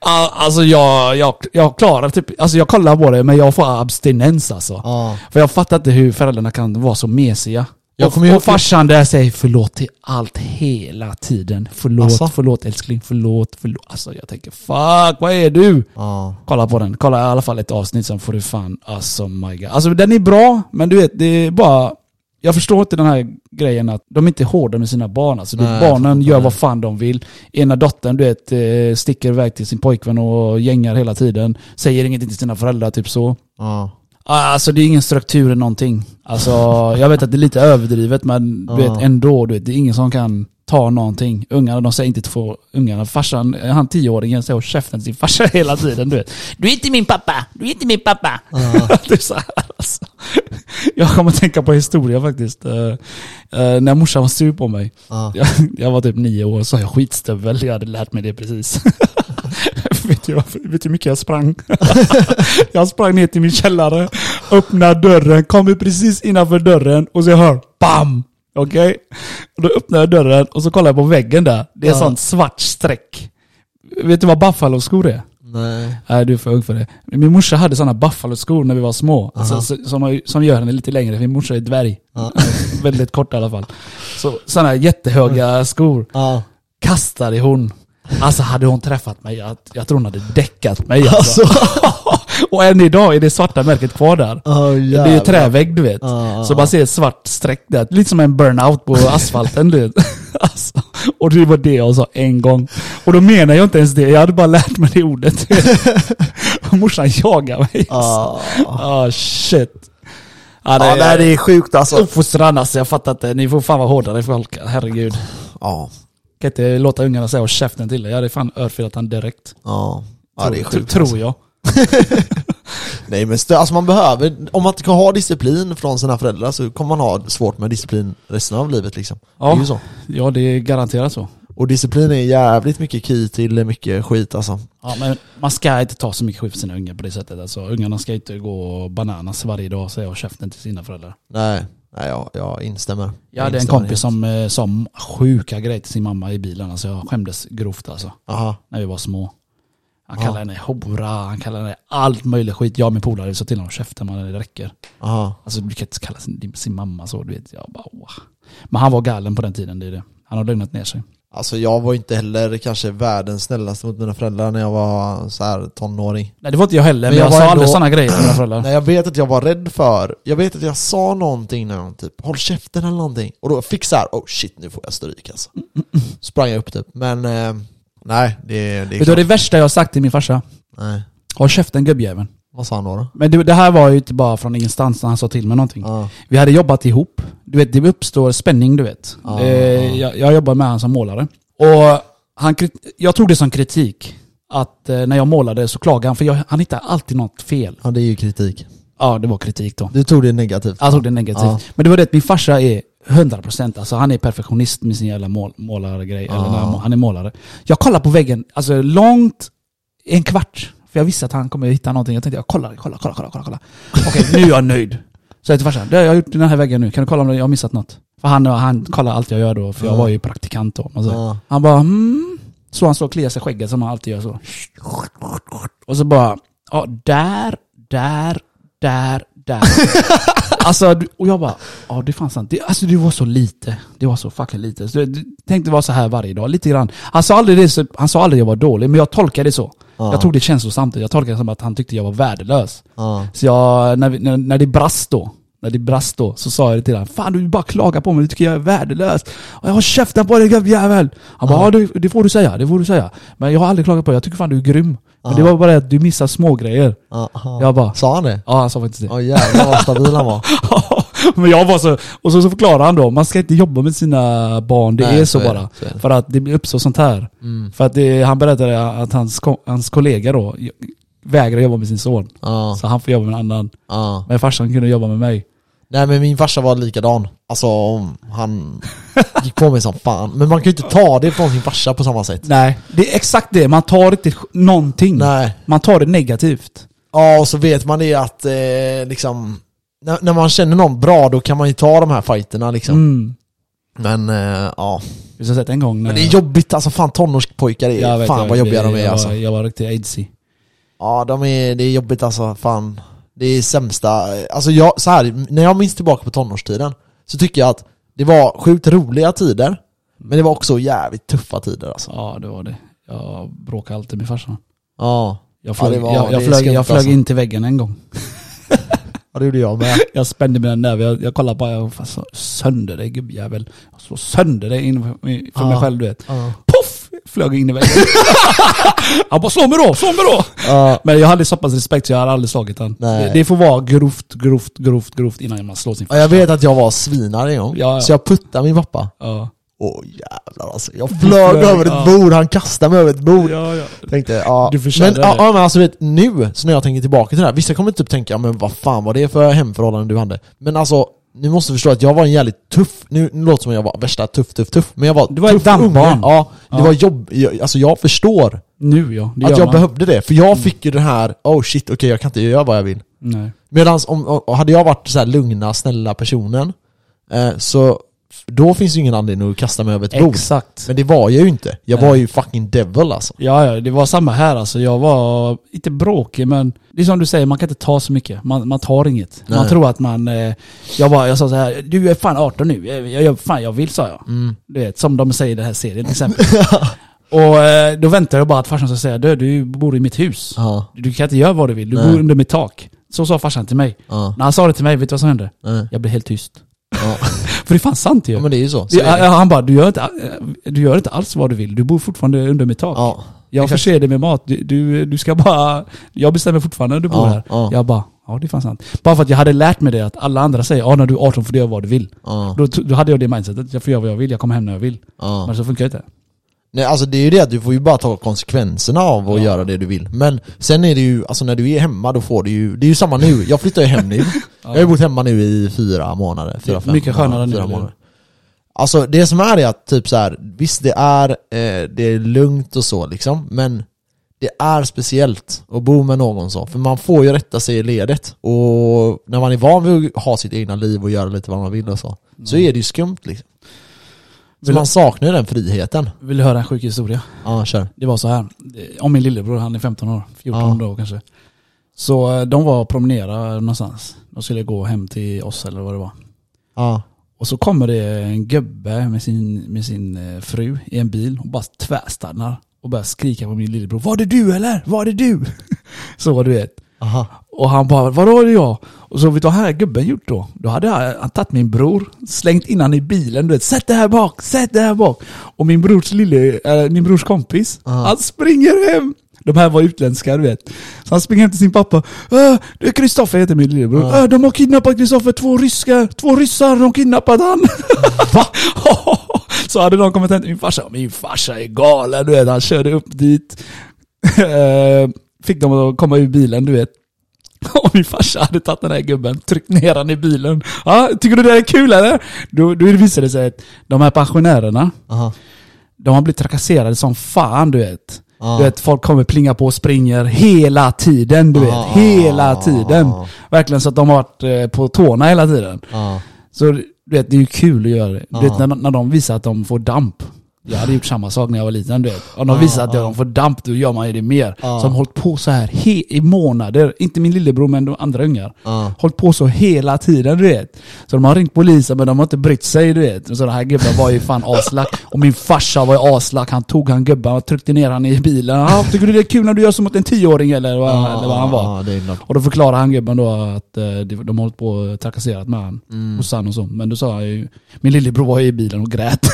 S2: a- alltså jag, jag, jag klarar typ, alltså jag kollar på det men jag får abstinens alltså.
S1: ja.
S2: För jag fattar inte hur föräldrarna kan vara så mesiga.
S1: Jag kommer
S2: Och,
S1: ihåg-
S2: och farsan där säger förlåt till allt hela tiden. Förlåt,
S1: Asså?
S2: förlåt älskling, förlåt, förlåt. Alltså jag tänker fuck, vad är du?
S1: ja.
S2: Kolla på den, kolla i alla fall ett avsnitt sen får du fan, alltså my god. Alltså den är bra, men du vet det är bara, jag förstår inte den här grejen att de är inte hårda med sina barn. Alltså, du vet,
S1: Nej, jag
S2: barnen
S1: fattar
S2: gör
S1: det.
S2: vad fan de vill. Ena dottern du vet, eh, sticker iväg till sin pojkvän och gängar hela tiden. Säger ingenting till sina föräldrar, typ så.
S1: ja.
S2: Alltså det är ingen struktur eller någonting. Alltså jag vet att det är lite överdrivet men du
S1: Ja.
S2: vet ändå, du vet, det är ingen som kan ta någonting. Ungarna, de säger inte till få ungarna. Farsan, han tioåringen säger åt käften till sin farsa hela tiden. Du vet. Du är inte min pappa! Du är inte min pappa! det är så här, alltså. Jag kommer att tänka på historia faktiskt. Eh, eh, när morsan var sur på mig.
S1: ja.
S2: Jag, jag var typ nio år så jag skitstövel, jag hade lärt mig det precis. vet, du, vad- vet du hur mycket jag sprang? jag sprang ner till min källare, öppnade dörren, kommer precis innanför dörren och så jag hör BAM! Okej? Och Då öppnar jag dörren och så kollar jag på väggen där. Det är
S1: Ja.
S2: sånt svart streck. Vet du vad Buffalo-skor är?
S1: Nej.
S2: Nej, du är för ung för det. Min morsa hade sådana buffaloskor när vi var små. Alltså,
S1: Aha.
S2: så- som, har- som gör henne lite längre, för min morsa är dvärg.
S1: Ja.
S2: Väldigt kort i alla fall. Så, sådana jättehöga skor
S1: Ja.
S2: kastade hon. Alltså hade hon träffat mig, jag, jag tror hon hade däckat mig alltså. Och än idag är det svarta märket kvar där.
S1: Oh,
S2: Det är ju trävägg du vet.
S1: Ja, ja,
S2: Så man ser ett svart streck där. Lite som en burnout på asfalten du vet. Alltså, och det var det jag sa en gång. Och då menar jag inte ens det, jag hade bara lärt mig det ordet. Och Morsan jagar mig. alltså.
S1: Ja.
S2: Ah shit. Ja, det
S1: Ja, nej,
S2: är
S1: det är sjukt alltså.
S2: uppfostran alltså, jag fattar inte. Ni får fan vara hårdare folk, herregud.
S1: Ja.
S2: Kan inte låta ungarna säga och käften till dig. Jag hade fan örfilat han direkt.
S1: Ja. Ja, det är
S2: Tror-
S1: sjukt. alltså.
S2: Tror jag.
S1: Nej men stö- alltså man behöver, om man inte kan ha disciplin från sina föräldrar så kommer man ha svårt med disciplin resten av livet liksom.
S2: Ja.
S1: Det är ju så.
S2: Ja, det är garanterat så.
S1: Och disciplin är jävligt mycket key till mycket skit alltså.
S2: Ja, men man ska inte ta så mycket skit för sina ungar på det sättet. Alltså, ungarna ska inte gå bananas varje dag och säga och käften till sina föräldrar.
S1: Nej, nej jag, jag instämmer.
S2: Jag hade en
S1: instämmer
S2: kompis
S1: helt.
S2: som eh, sa sjuka grejer till sin mamma i bilen. Alltså, jag skämdes grovt alltså,
S1: Aha.
S2: när vi var små. Han
S1: Ja.
S2: kallade henne hora, han kallade henne allt möjligt skit. Jag och min polare sa till honom käften man, det räcker.
S1: Aha.
S2: Alltså du kan inte kalla sin, sin mamma så, du vet. Jag bara, wow. Men han var galen på den tiden, det är det. Han har lugnat ner sig.
S1: Alltså jag var inte heller kanske världens snällaste mot mina föräldrar när jag var så här tonåring.
S2: Nej det var inte jag heller,
S1: Men
S2: men,
S1: jag
S2: jag,
S1: var
S2: sa aldrig
S1: ändå-
S2: sådana grejer till mina föräldrar.
S1: Nej jag vet att jag var rädd för, jag vet att jag sa någonting när någon typ 'Håll käften' eller någonting. Och då fick såhär 'Oh shit, nu får jag stryk alltså' Sprang jag upp typ, men eh, nej det, det är
S2: Vet du vad
S1: klart.
S2: det värsta jag har sagt till min farsa?
S1: Nej.
S2: Håll käften gubbjäveln.
S1: Vad sa han då? då?
S2: Men det, det här var ju inte bara från ingenstans när han sa till mig någonting.
S1: Ja.
S2: Vi hade jobbat ihop. Du vet, det uppstår spänning du vet.
S1: Ja,
S2: eh,
S1: ja.
S2: Jag, jag jobbade med han som målare. Och han, krit- jag tog det som kritik. Att eh, när jag målade så klagade han, för jag, han hittade alltid något fel.
S1: ja, det är ju kritik.
S2: Ja, det var kritik då.
S1: Du tog det negativt.
S2: Jag tog det negativt.
S1: Ja.
S2: Men det var det att min farsa är 100% alltså han är perfektionist med sin jävla mål, målargrej. Eller
S1: Ja.
S2: när han- han är målare. Jag kollar på väggen, alltså långt, en kvart. För jag visste att han kommer hitta någonting. Jag tänkte jag kollar, kollar, kollar, kollar, kollar. kollar. Okej, nu är jag nöjd. Så jag till farsan, "Du, jag har gjort den här väggen nu, kan du kolla om jag har missat något? För han, han kollar allt jag gör då, för jag
S1: Ja.
S2: var ju praktikant då. Alltså.
S1: Ja.
S2: Han bara mm. Så han står och kliar sig i skägget som han alltid gör så. Och så bara, ja där, där, där, där. alltså, du- och jag bara, ja det fanns sant. Det, alltså det var så lite. Det var så fucking lite. Så, det- det- tänk det var så här varje dag, lite grann. Han sa aldrig det, så, han sa aldrig jag var dålig, men jag tolkade det så.
S1: Ja.
S2: Jag tog det känslosamt. Jag tolkade det som att han tyckte jag var värdelös.
S1: Ja.
S2: Så jag, när, vi, när, när det brast då, när det brast då, så sa jag det till honom. Fan du bara klagar på mig, du tycker jag är värdelös. Och jag har käften på dig gubbjävel. Han bara, ja du, det får du säga, det får du säga. Men jag har aldrig klagat på dig, jag tycker fan du är grym. Men det var bara det att du missar små grejer.
S1: Ja. ja.
S2: Jag bara,
S1: Sa han det?
S2: ja han sa faktiskt det.
S1: Ja jävlar vad stabil han var.
S2: Men jag var så, och så, så förklarar han då, man ska inte jobba med sina barn, det
S1: Nej,
S2: är så,
S1: så är det,
S2: bara.
S1: så är det. Mm.
S2: För att det blir- uppstår sånt här. För att det, han berättade att hans, ko- hans kollega då vägrar jobba med sin son.
S1: Ja.
S2: Så han får jobba med en annan.
S1: Ja.
S2: Men farsan kunde jobba med mig.
S1: Nej men min farsa var likadan. Alltså om han gick på mig som fan. Men man kan ju inte ta det från sin farsa på samma sätt.
S2: Nej, det är exakt det. Man tar inte sk- någonting.
S1: Nej.
S2: Man tar det negativt.
S1: Ja och så vet man det att eh, liksom när, när man känner någon bra då kan man ju ta de här fighterna liksom.
S2: Mm.
S1: Men eh, ja.
S2: Vi har sett en gång när...
S1: Men det är jobbigt alltså. Fan tonårspojkar är
S2: Mm. Jag vet,
S1: fan
S2: jag
S1: vad
S2: vet,
S1: jobbiga
S2: det-
S1: de är
S2: jag
S1: alltså.
S2: Var, jag var riktigt aidsig.
S1: Ja de är, det är jobbigt alltså. Fan. Det är sämsta. Alltså jag, så här, när jag minns tillbaka på tonårstiden så tycker jag att det var sjukt roliga tider. Men det var också jävligt tuffa tider alltså.
S2: Ja, det var det. Jag bråkade alltid med farsan.
S1: Ja.
S2: Jag flög,
S1: det var-
S2: jag,
S1: det är
S2: jag flög,
S1: skumt
S2: jag flög
S1: alltså.
S2: in till väggen en gång.
S1: Ja det gjorde jag med.
S2: Jag spände mina nerver. Jag, jag kollade bara, jag fan, slå sönder dig gubbjävel. Jag slår sönder dig in för mig för mig
S1: Ja.
S2: själv du vet.
S1: Ja.
S2: Poff! Flög in i väggen. Han bara, slå mig då, slå mig då!
S1: Ja.
S2: Men jag hade så pass respekt så jag hade aldrig slagit han.
S1: Nej.
S2: Det, det får vara grovt, grovt, grovt, grovt innan man slår sin
S1: Ja, jag vet att jag var svinare en gång,
S2: Ja, ja.
S1: så jag puttade min pappa.
S2: Ja.
S1: Åh jävlar alltså, jag flög
S2: flög,
S1: över
S2: ja.
S1: ett bord, han kastade mig över ett bord.
S2: Ja, ja.
S1: Tänkte, ja.
S2: Du förtjänar
S1: men, ja,
S2: det.
S1: ja men alltså vet, nu, så när jag tänker tillbaka till det här, vissa kommer typ tänka, men vad fan var det för hemförhållanden du hade? Men alltså, ni måste förstå att jag var en jävligt tuff, nu nu låter det som att jag var värsta tuff, tuff, tuff, men jag var
S2: Du var
S1: tuff
S2: ett dammbarn.
S1: unge. Ja, det
S2: Ja.
S1: var jobb, jag, alltså jag förstår
S2: Nu ja, det
S1: att
S2: gör
S1: jag
S2: man. Mm.
S1: behövde det, för jag fick ju den här, oh shit, okej jag kan inte göra vad jag vill.
S2: Nej.
S1: Medan om, om, hade jag varit så här lugna, snälla personen, eh, så f- då finns ju ingen anledning att kasta mig över ett bord.
S2: Exakt.
S1: Men det var jag ju inte. Jag
S2: Nej.
S1: var ju fucking devil alltså.
S2: Ja, ja, det var samma här alltså. Jag var, inte bråkig men, det är som du säger, man kan inte ta så mycket. Man, man tar inget. Man
S1: Nej.
S2: tror att man, eh, jag bara, jag sa så här, du är fan 18 nu, jag, jag gör fan jag vill sa jag.
S1: Mm.
S2: Du vet, som de säger i den här serien till exempel. Och eh, då väntar jag bara att farsan ska säga, du, du bor i mitt hus.
S1: Ja.
S2: Du kan inte göra vad du vill, du
S1: Nej.
S2: bor under mitt tak. Så sa farsan till mig.
S1: Ja.
S2: När han sa det till mig, vet du vad som hände?
S1: Nej.
S2: Jag blev helt tyst.
S1: Ja.
S2: För det är fan sant ju.
S1: ja men det är ju så. så
S2: Ja,
S1: är det.
S2: ja, han bara, du gör, inte, eh, du gör inte alls vad du vill. Du bor fortfarande under mitt tak.
S1: Ja.
S2: jag
S1: exakt.
S2: förser dig med mat. Du, du, du ska bara... Jag bestämmer fortfarande när du bor
S1: Ja,
S2: här.
S1: ja.
S2: Jag bara, ja det är fan sant. Bara för att jag hade lärt mig det att alla andra säger, ja när du är 18 får du göra vad du vill.
S1: Ja.
S2: Då, då hade jag det mindsetet, jag får göra vad jag vill, jag kommer hem när jag vill.
S1: Ja.
S2: Men så funkar det inte.
S1: Nej alltså det är ju det att du får ju bara ta konsekvenserna av att göra det du vill. Men sen är det ju, alltså när du är hemma då får du ju, det är ju samma nu. Jag flyttar ju hem nu. Jag har ju bott hemma nu i fyra månader. Fyra, fem
S2: mycket
S1: månader,
S2: skönare nu,
S1: fyra
S2: eller hur?
S1: månader. Alltså det som är är att typ så här, visst det är, eh, det är lugnt och så liksom, men det är speciellt att bo med någon så, för man får ju rätta sig i ledet. Och när man är van vid att ha sitt egna liv och göra lite vad man vill och så, så är det ju skumt liksom. Så
S2: Mm. Vill-
S1: man saknar ju den friheten.
S2: Vill du höra en sjuk historia?
S1: Ja, kör.
S2: Det var så här. eh, Om min lillebror, han är 15 år, 14
S1: Ja.
S2: då kanske. Så eh, de var och promenerade någonstans. De skulle gå hem till oss eller vad det var.
S1: Ja.
S2: Och så kommer det en gubbe med sin, med sin eh, fru i en bil och bara tvärstannar och börjar skrika på min lillebror. Var det du eller? Var det du? så du vet.
S1: Aha.
S2: Och han bara, vadå är det jag? Och så vet du vad här gubben gjort då? Då hade han, han tagit min bror, slängt in han i bilen, du vet, sätt det här bak, sätt det här bak. Och min brors lille, äh, min brors kompis, han springer hem. De här var utländska, du vet. Så han springer hem till sin pappa. "Äh, det är Kristoffer heter min lillebror. "Äh, de har kidnappat Kristoffer, två ryskar, två ryssar, de har kidnappat han. Va? så hade någon kommit hem till min farsa. Min farsa är galen, du vet. Han körde upp dit. Eh, Fick dem att komma ur bilen, du vet. Och min farsa hade tagit den här gubben, tryckt ner han i bilen. Ja, tycker du det är kul eller? Då, då visade det sig att de här pensionärerna,
S1: Aha.
S2: de har blivit trakasserade som fan du vet.
S1: Ja.
S2: Du vet, folk kommer plinga på och springer hela tiden du vet.
S1: Ah.
S2: Hela tiden. Verkligen så att de har varit eh, på tårna hela tiden.
S1: Ja.
S2: Så du vet, det är ju kul att göra det. Du vet,
S1: Ja.
S2: när, när de visar att de får damp. Jag hade gjort samma sak när jag var liten du vet. Om de
S1: Ja,
S2: visar att
S1: ja.
S2: de får damp, då gör man ju det mer.
S1: Ja.
S2: Så de har hållit på så här he- i månader. Inte min lillebror men de andra ungar.
S1: Ja.
S2: Hållit på så hela tiden du vet. Så de har ringt polisen men de har inte brytt sig du vet. Och Så den här gubben var ju fan aslack. Och min farsa var ju aslack. Han tog han gubben och tryckte ner han i bilen. Ah, tycker du det är kul när du gör så mot en tioåring eller vad, eller vad han var?
S1: Ja, det är något.
S2: Och då förklarade han gubben då att eh, de de har hållit på och trakasserat med han.
S1: Mm.
S2: Hos han och så. Men då sa han ju, min lillebror var ju i bilen och grät.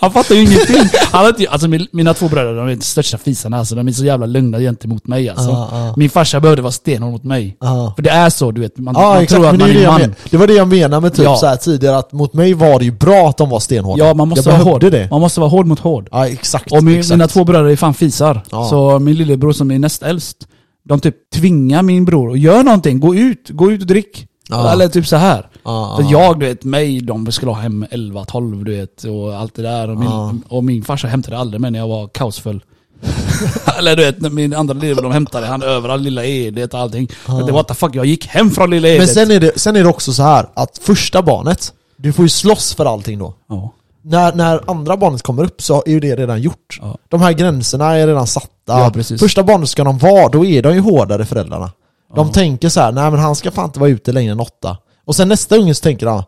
S2: han fattar ju ingenting. Han hade, inte- alltså min, mina två bröder, de är de största fisarna alltså. De är så jävla lugna gentemot mig alltså.
S1: Ja, ja.
S2: Min farsa behövde vara stenhård mot mig.
S1: Ja.
S2: För det är så, du vet. Man,
S1: Ja,
S2: man
S1: Ah, exakt.
S2: tror att
S1: Men det,
S2: man
S1: är
S2: är
S1: det,
S2: en
S1: jag
S2: man.
S1: men, det var det jag menade med typ
S2: Ja.
S1: så här tidigare, att mot mig var det ju bra att de var stenhårda.
S2: Ja, man måste,
S1: jag
S2: vara
S1: behövde
S2: hård.
S1: det.
S2: man måste vara hård mot hård.
S1: Ja, exakt.
S2: Och min,
S1: exakt.
S2: mina två bröder är fan fisar.
S1: Ja.
S2: Så min lillebror som är näst äldst, de typ tvingar min bror att göra någonting. Gå ut, gå ut och drick.
S1: Ja.
S2: Eller typ så här.
S1: Ja,
S2: För
S1: ja.
S2: jag, du vet, mig, de skulle ha hem 11-12 du vet och allt det där. Och min,
S1: Ja.
S2: och min farsa hämtade aldrig mig när jag var kaosfull. Eller du vet, när min andra lillebror de hämtade han överallt, lilla Edet och allting. Det var what the fuck, jag gick hem från lilla E Edet.
S1: Men sen är, det, sen är det också så här att första barnet, du får ju slåss för allting då.
S2: Ja.
S1: När, när andra barnet kommer upp så är ju det redan gjort.
S2: Ja.
S1: De här gränserna är redan satta.
S2: Ja, precis.
S1: Första barnet ska de vara, då är de ju hårdare föräldrarna. De tänker så här, nej men han ska fan inte vara ute längre än åtta. Och sen nästa unge så tänker han,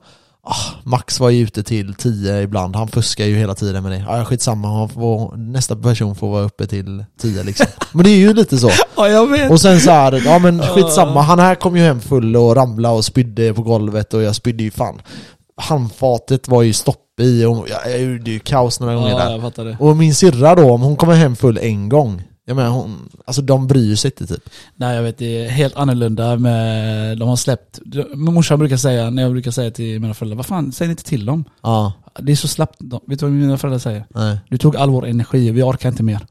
S1: ah, Max var ju ute till tio ibland, han fuskar ju hela tiden med det. Ja, skitsamma, han får, nästa person får vara uppe till tio liksom. men det är ju lite så.
S2: ja, jag vet.
S1: Och sen så här, ja men skitsamma, han här kom ju hem full och ramlade och spydde på golvet och jag spydde ju fan. Handfatet var ju stopp i och jag jag gjorde ju kaos några gånger
S2: ja,
S1: där.
S2: jag fattar det.
S1: Och min syrra då, om hon kommer hem full en gång, jag menar hon, alltså de bryr sig inte typ.
S2: Nej jag vet, det är helt annorlunda med, de har släppt, min morsan brukar säga, när jag brukar säga till mina föräldrar, vad fan, säg inte till dem.
S1: Ja,
S2: Det är så slappt, de- vet du vad mina föräldrar säger?
S1: nej.
S2: Du tog all vår energi, vi orkar inte mer.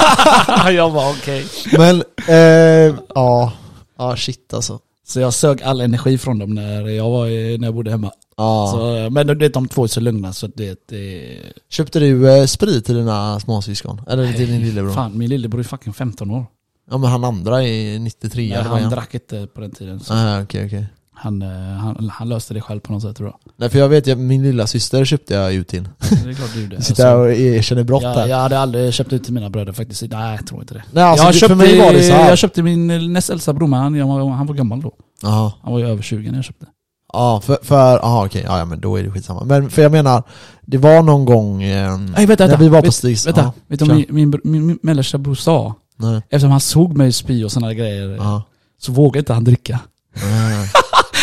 S2: jag var okej.
S1: Men, eh, ja, ja shit alltså.
S2: Så jag sög all energi från dem när jag, var, i- när jag bodde hemma.
S1: Ja.
S2: Så, men du vet, de två är så lugna så det, det
S1: Köpte du eh, sprit till dina småsyskon? Eller till din lillebror?
S2: Fan, min lillebror är fucking 15 år.
S1: Ja men han andra är 93
S2: Men
S1: eller vad är
S2: han
S1: han?
S2: drack inte på den tiden. Så
S1: Ah, okej okej.
S2: han, eh, han, han löste det själv på något sätt tror jag.
S1: Nej för jag vet, jag, min lilla syster köpte jag ut till.
S2: Det är klart du det.
S1: Du sitter här och erkänner brott
S2: jag,
S1: här.
S2: jag hade aldrig köpt ut till mina bröder faktiskt. Nej, jag tror inte det.
S1: Nej, alltså,
S2: jag,
S1: det-
S2: köpte,
S1: för mig var det så här.
S2: jag köpte min näst äldsta bror, men han, jag var- han var gammal då.
S1: Jaha.
S2: Han var ju över 20 när jag köpte.
S1: Ja, för, för aha, okej, ja, ja men då är det skitsamma. Men för jag menar, det var någon gång... Eh,
S2: Nej, vänta,
S1: När
S2: vänta.
S1: vi var på
S2: Vet-
S1: Stigs-
S2: Vänta,
S1: ja,
S2: vet du vad min, min, br- min, min mellersta bror sa?
S1: nej,
S2: Eftersom han såg mig spy och sådana grejer,
S1: ja,
S2: så vågade inte han dricka.
S1: nej.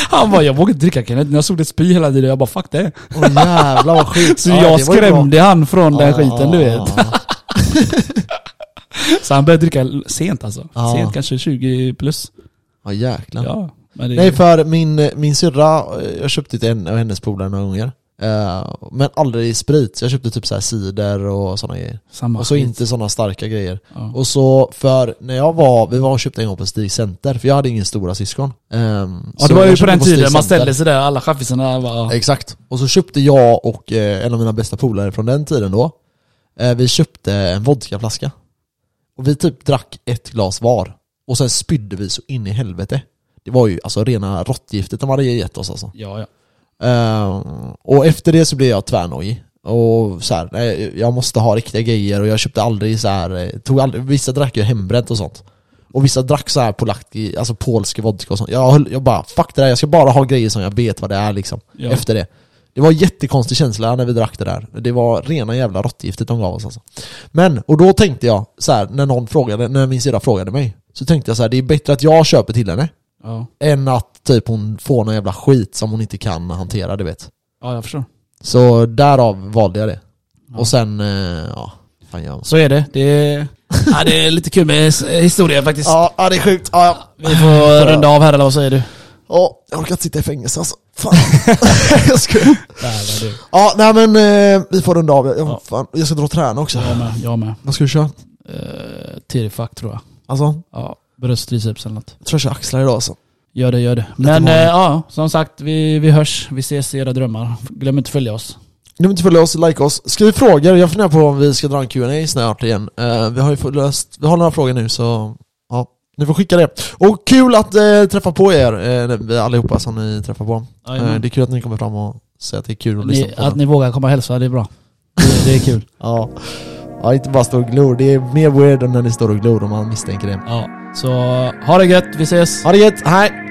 S2: Han bara, jag vågar inte dricka Kenneth. När jag såg dig spy hela tiden, jag bara fuck det.
S1: Åh jävlar vad sjukt.
S2: Så
S1: Ja,
S2: jag
S1: det var ju bra. Ah.
S2: skrämde han från den
S1: Ja,
S2: skiten du
S1: ja,
S2: vet.
S1: ja.
S2: Så han började dricka l- sent alltså.
S1: Ja.
S2: Sent, kanske 20 plus.
S1: Ah. Ja jäklar.
S2: Ja. Men det,
S1: Nej för min, min syrra, eh, jag köpte till en av hennes polare några gånger. Eh, men aldrig sprit, så jag köpte typ så här cider och sådana grejer.
S2: samma
S1: Och så
S2: skit.
S1: inte sådana starka grejer.
S2: Ja.
S1: Och så för när jag var, vi var och köpte en gång på Stig Center, för jag hade ingen stora syskon. Ehm,
S2: Ja
S1: så
S2: det var ju
S1: jag
S2: på
S1: köpte
S2: den
S1: Stig
S2: tiden man
S1: Center.
S2: ställde sig där, alla chaffisarna bara...
S1: Exakt. Och så köpte jag och eh, en av mina bästa polare från den tiden då, eh, vi köpte en vodkaflaska. Och vi typ drack ett glas var. Och sen spydde vi så in i helvete. Det var ju alltså rena råttgiftet de hade gett oss alltså.
S2: Ja, ja.
S1: Eh, och efter det så blev jag tvärnojig. Och så här, nej, jag måste ha riktiga grejer och jag köpte aldrig så här, eh, tog aldrig, vissa drack ju hembränt och sånt. Och vissa drack så här polacki, alltså polsk vodka och sånt. Jag, höll, jag bara, fuck det där, jag ska bara ha grejer som jag vet vad det är liksom.
S2: Ja.
S1: Efter det. Det var en jättekonstig känsla när vi drack det där. Det var rena jävla råttgiftet de gav oss alltså. Men, och då tänkte jag så här, när någon frågade, när min syrra frågade mig. Så tänkte jag så här, det är bättre att jag köper till henne.
S2: Ja.
S1: Än att typ hon får någon jävla skit som hon inte kan hantera, du vet.
S2: ja, jag förstår.
S1: Så därav valde jag det.
S2: Ja.
S1: Och sen, eh, ja. Fan jag...
S2: Så är det. Det är, ja, det är lite kul med his- historien faktiskt.
S1: Ja, ja, det är sjukt. Ja, ja.
S2: Vi får runda av här eller vad säger du?
S1: Ja, jag orkar inte sitta i fängelse alltså. Fan. jag ska...
S2: Där var du.
S1: Ja, nej men eh, vi får runda av. Jag,
S2: Ja.
S1: fan, jag ska dra och träna också.
S2: Jag med. Jag med.
S1: Vad ska du köra?
S2: Uh, Tirifack tror jag.
S1: Alltså,
S2: Ja, bröst, triceps eller något.
S1: jag tror jag kör axlar idag alltså.
S2: Gör det, gör det.
S1: Lite
S2: Men eh,
S1: vanligt.
S2: ja, som sagt, vi, vi hörs. Vi ses i era drömmar. Glöm inte att följa oss.
S1: Glöm inte att följa oss, like oss. Skriv frågor. Jag funderar på om vi ska dra en Q&A snart igen. Eh, vi har ju fått löst, vi har några frågor nu så ja, ni får skicka det. Och kul att eh, träffa på er, eh, vi allihopa som ni träffar på. Eh, det är kul att ni kommer fram och säger att det är kul att lyssna
S2: ni,
S1: på.
S2: att
S1: podden.
S2: ni vågar komma och hälsa, det är bra. Det, det är kul.
S1: Ja. ja, inte bara stå och glor. Det är mer weird än när ni står och glor om man misstänker det.
S2: Ja. Så ha det gött, vi ses.
S1: Ha det gött, hej!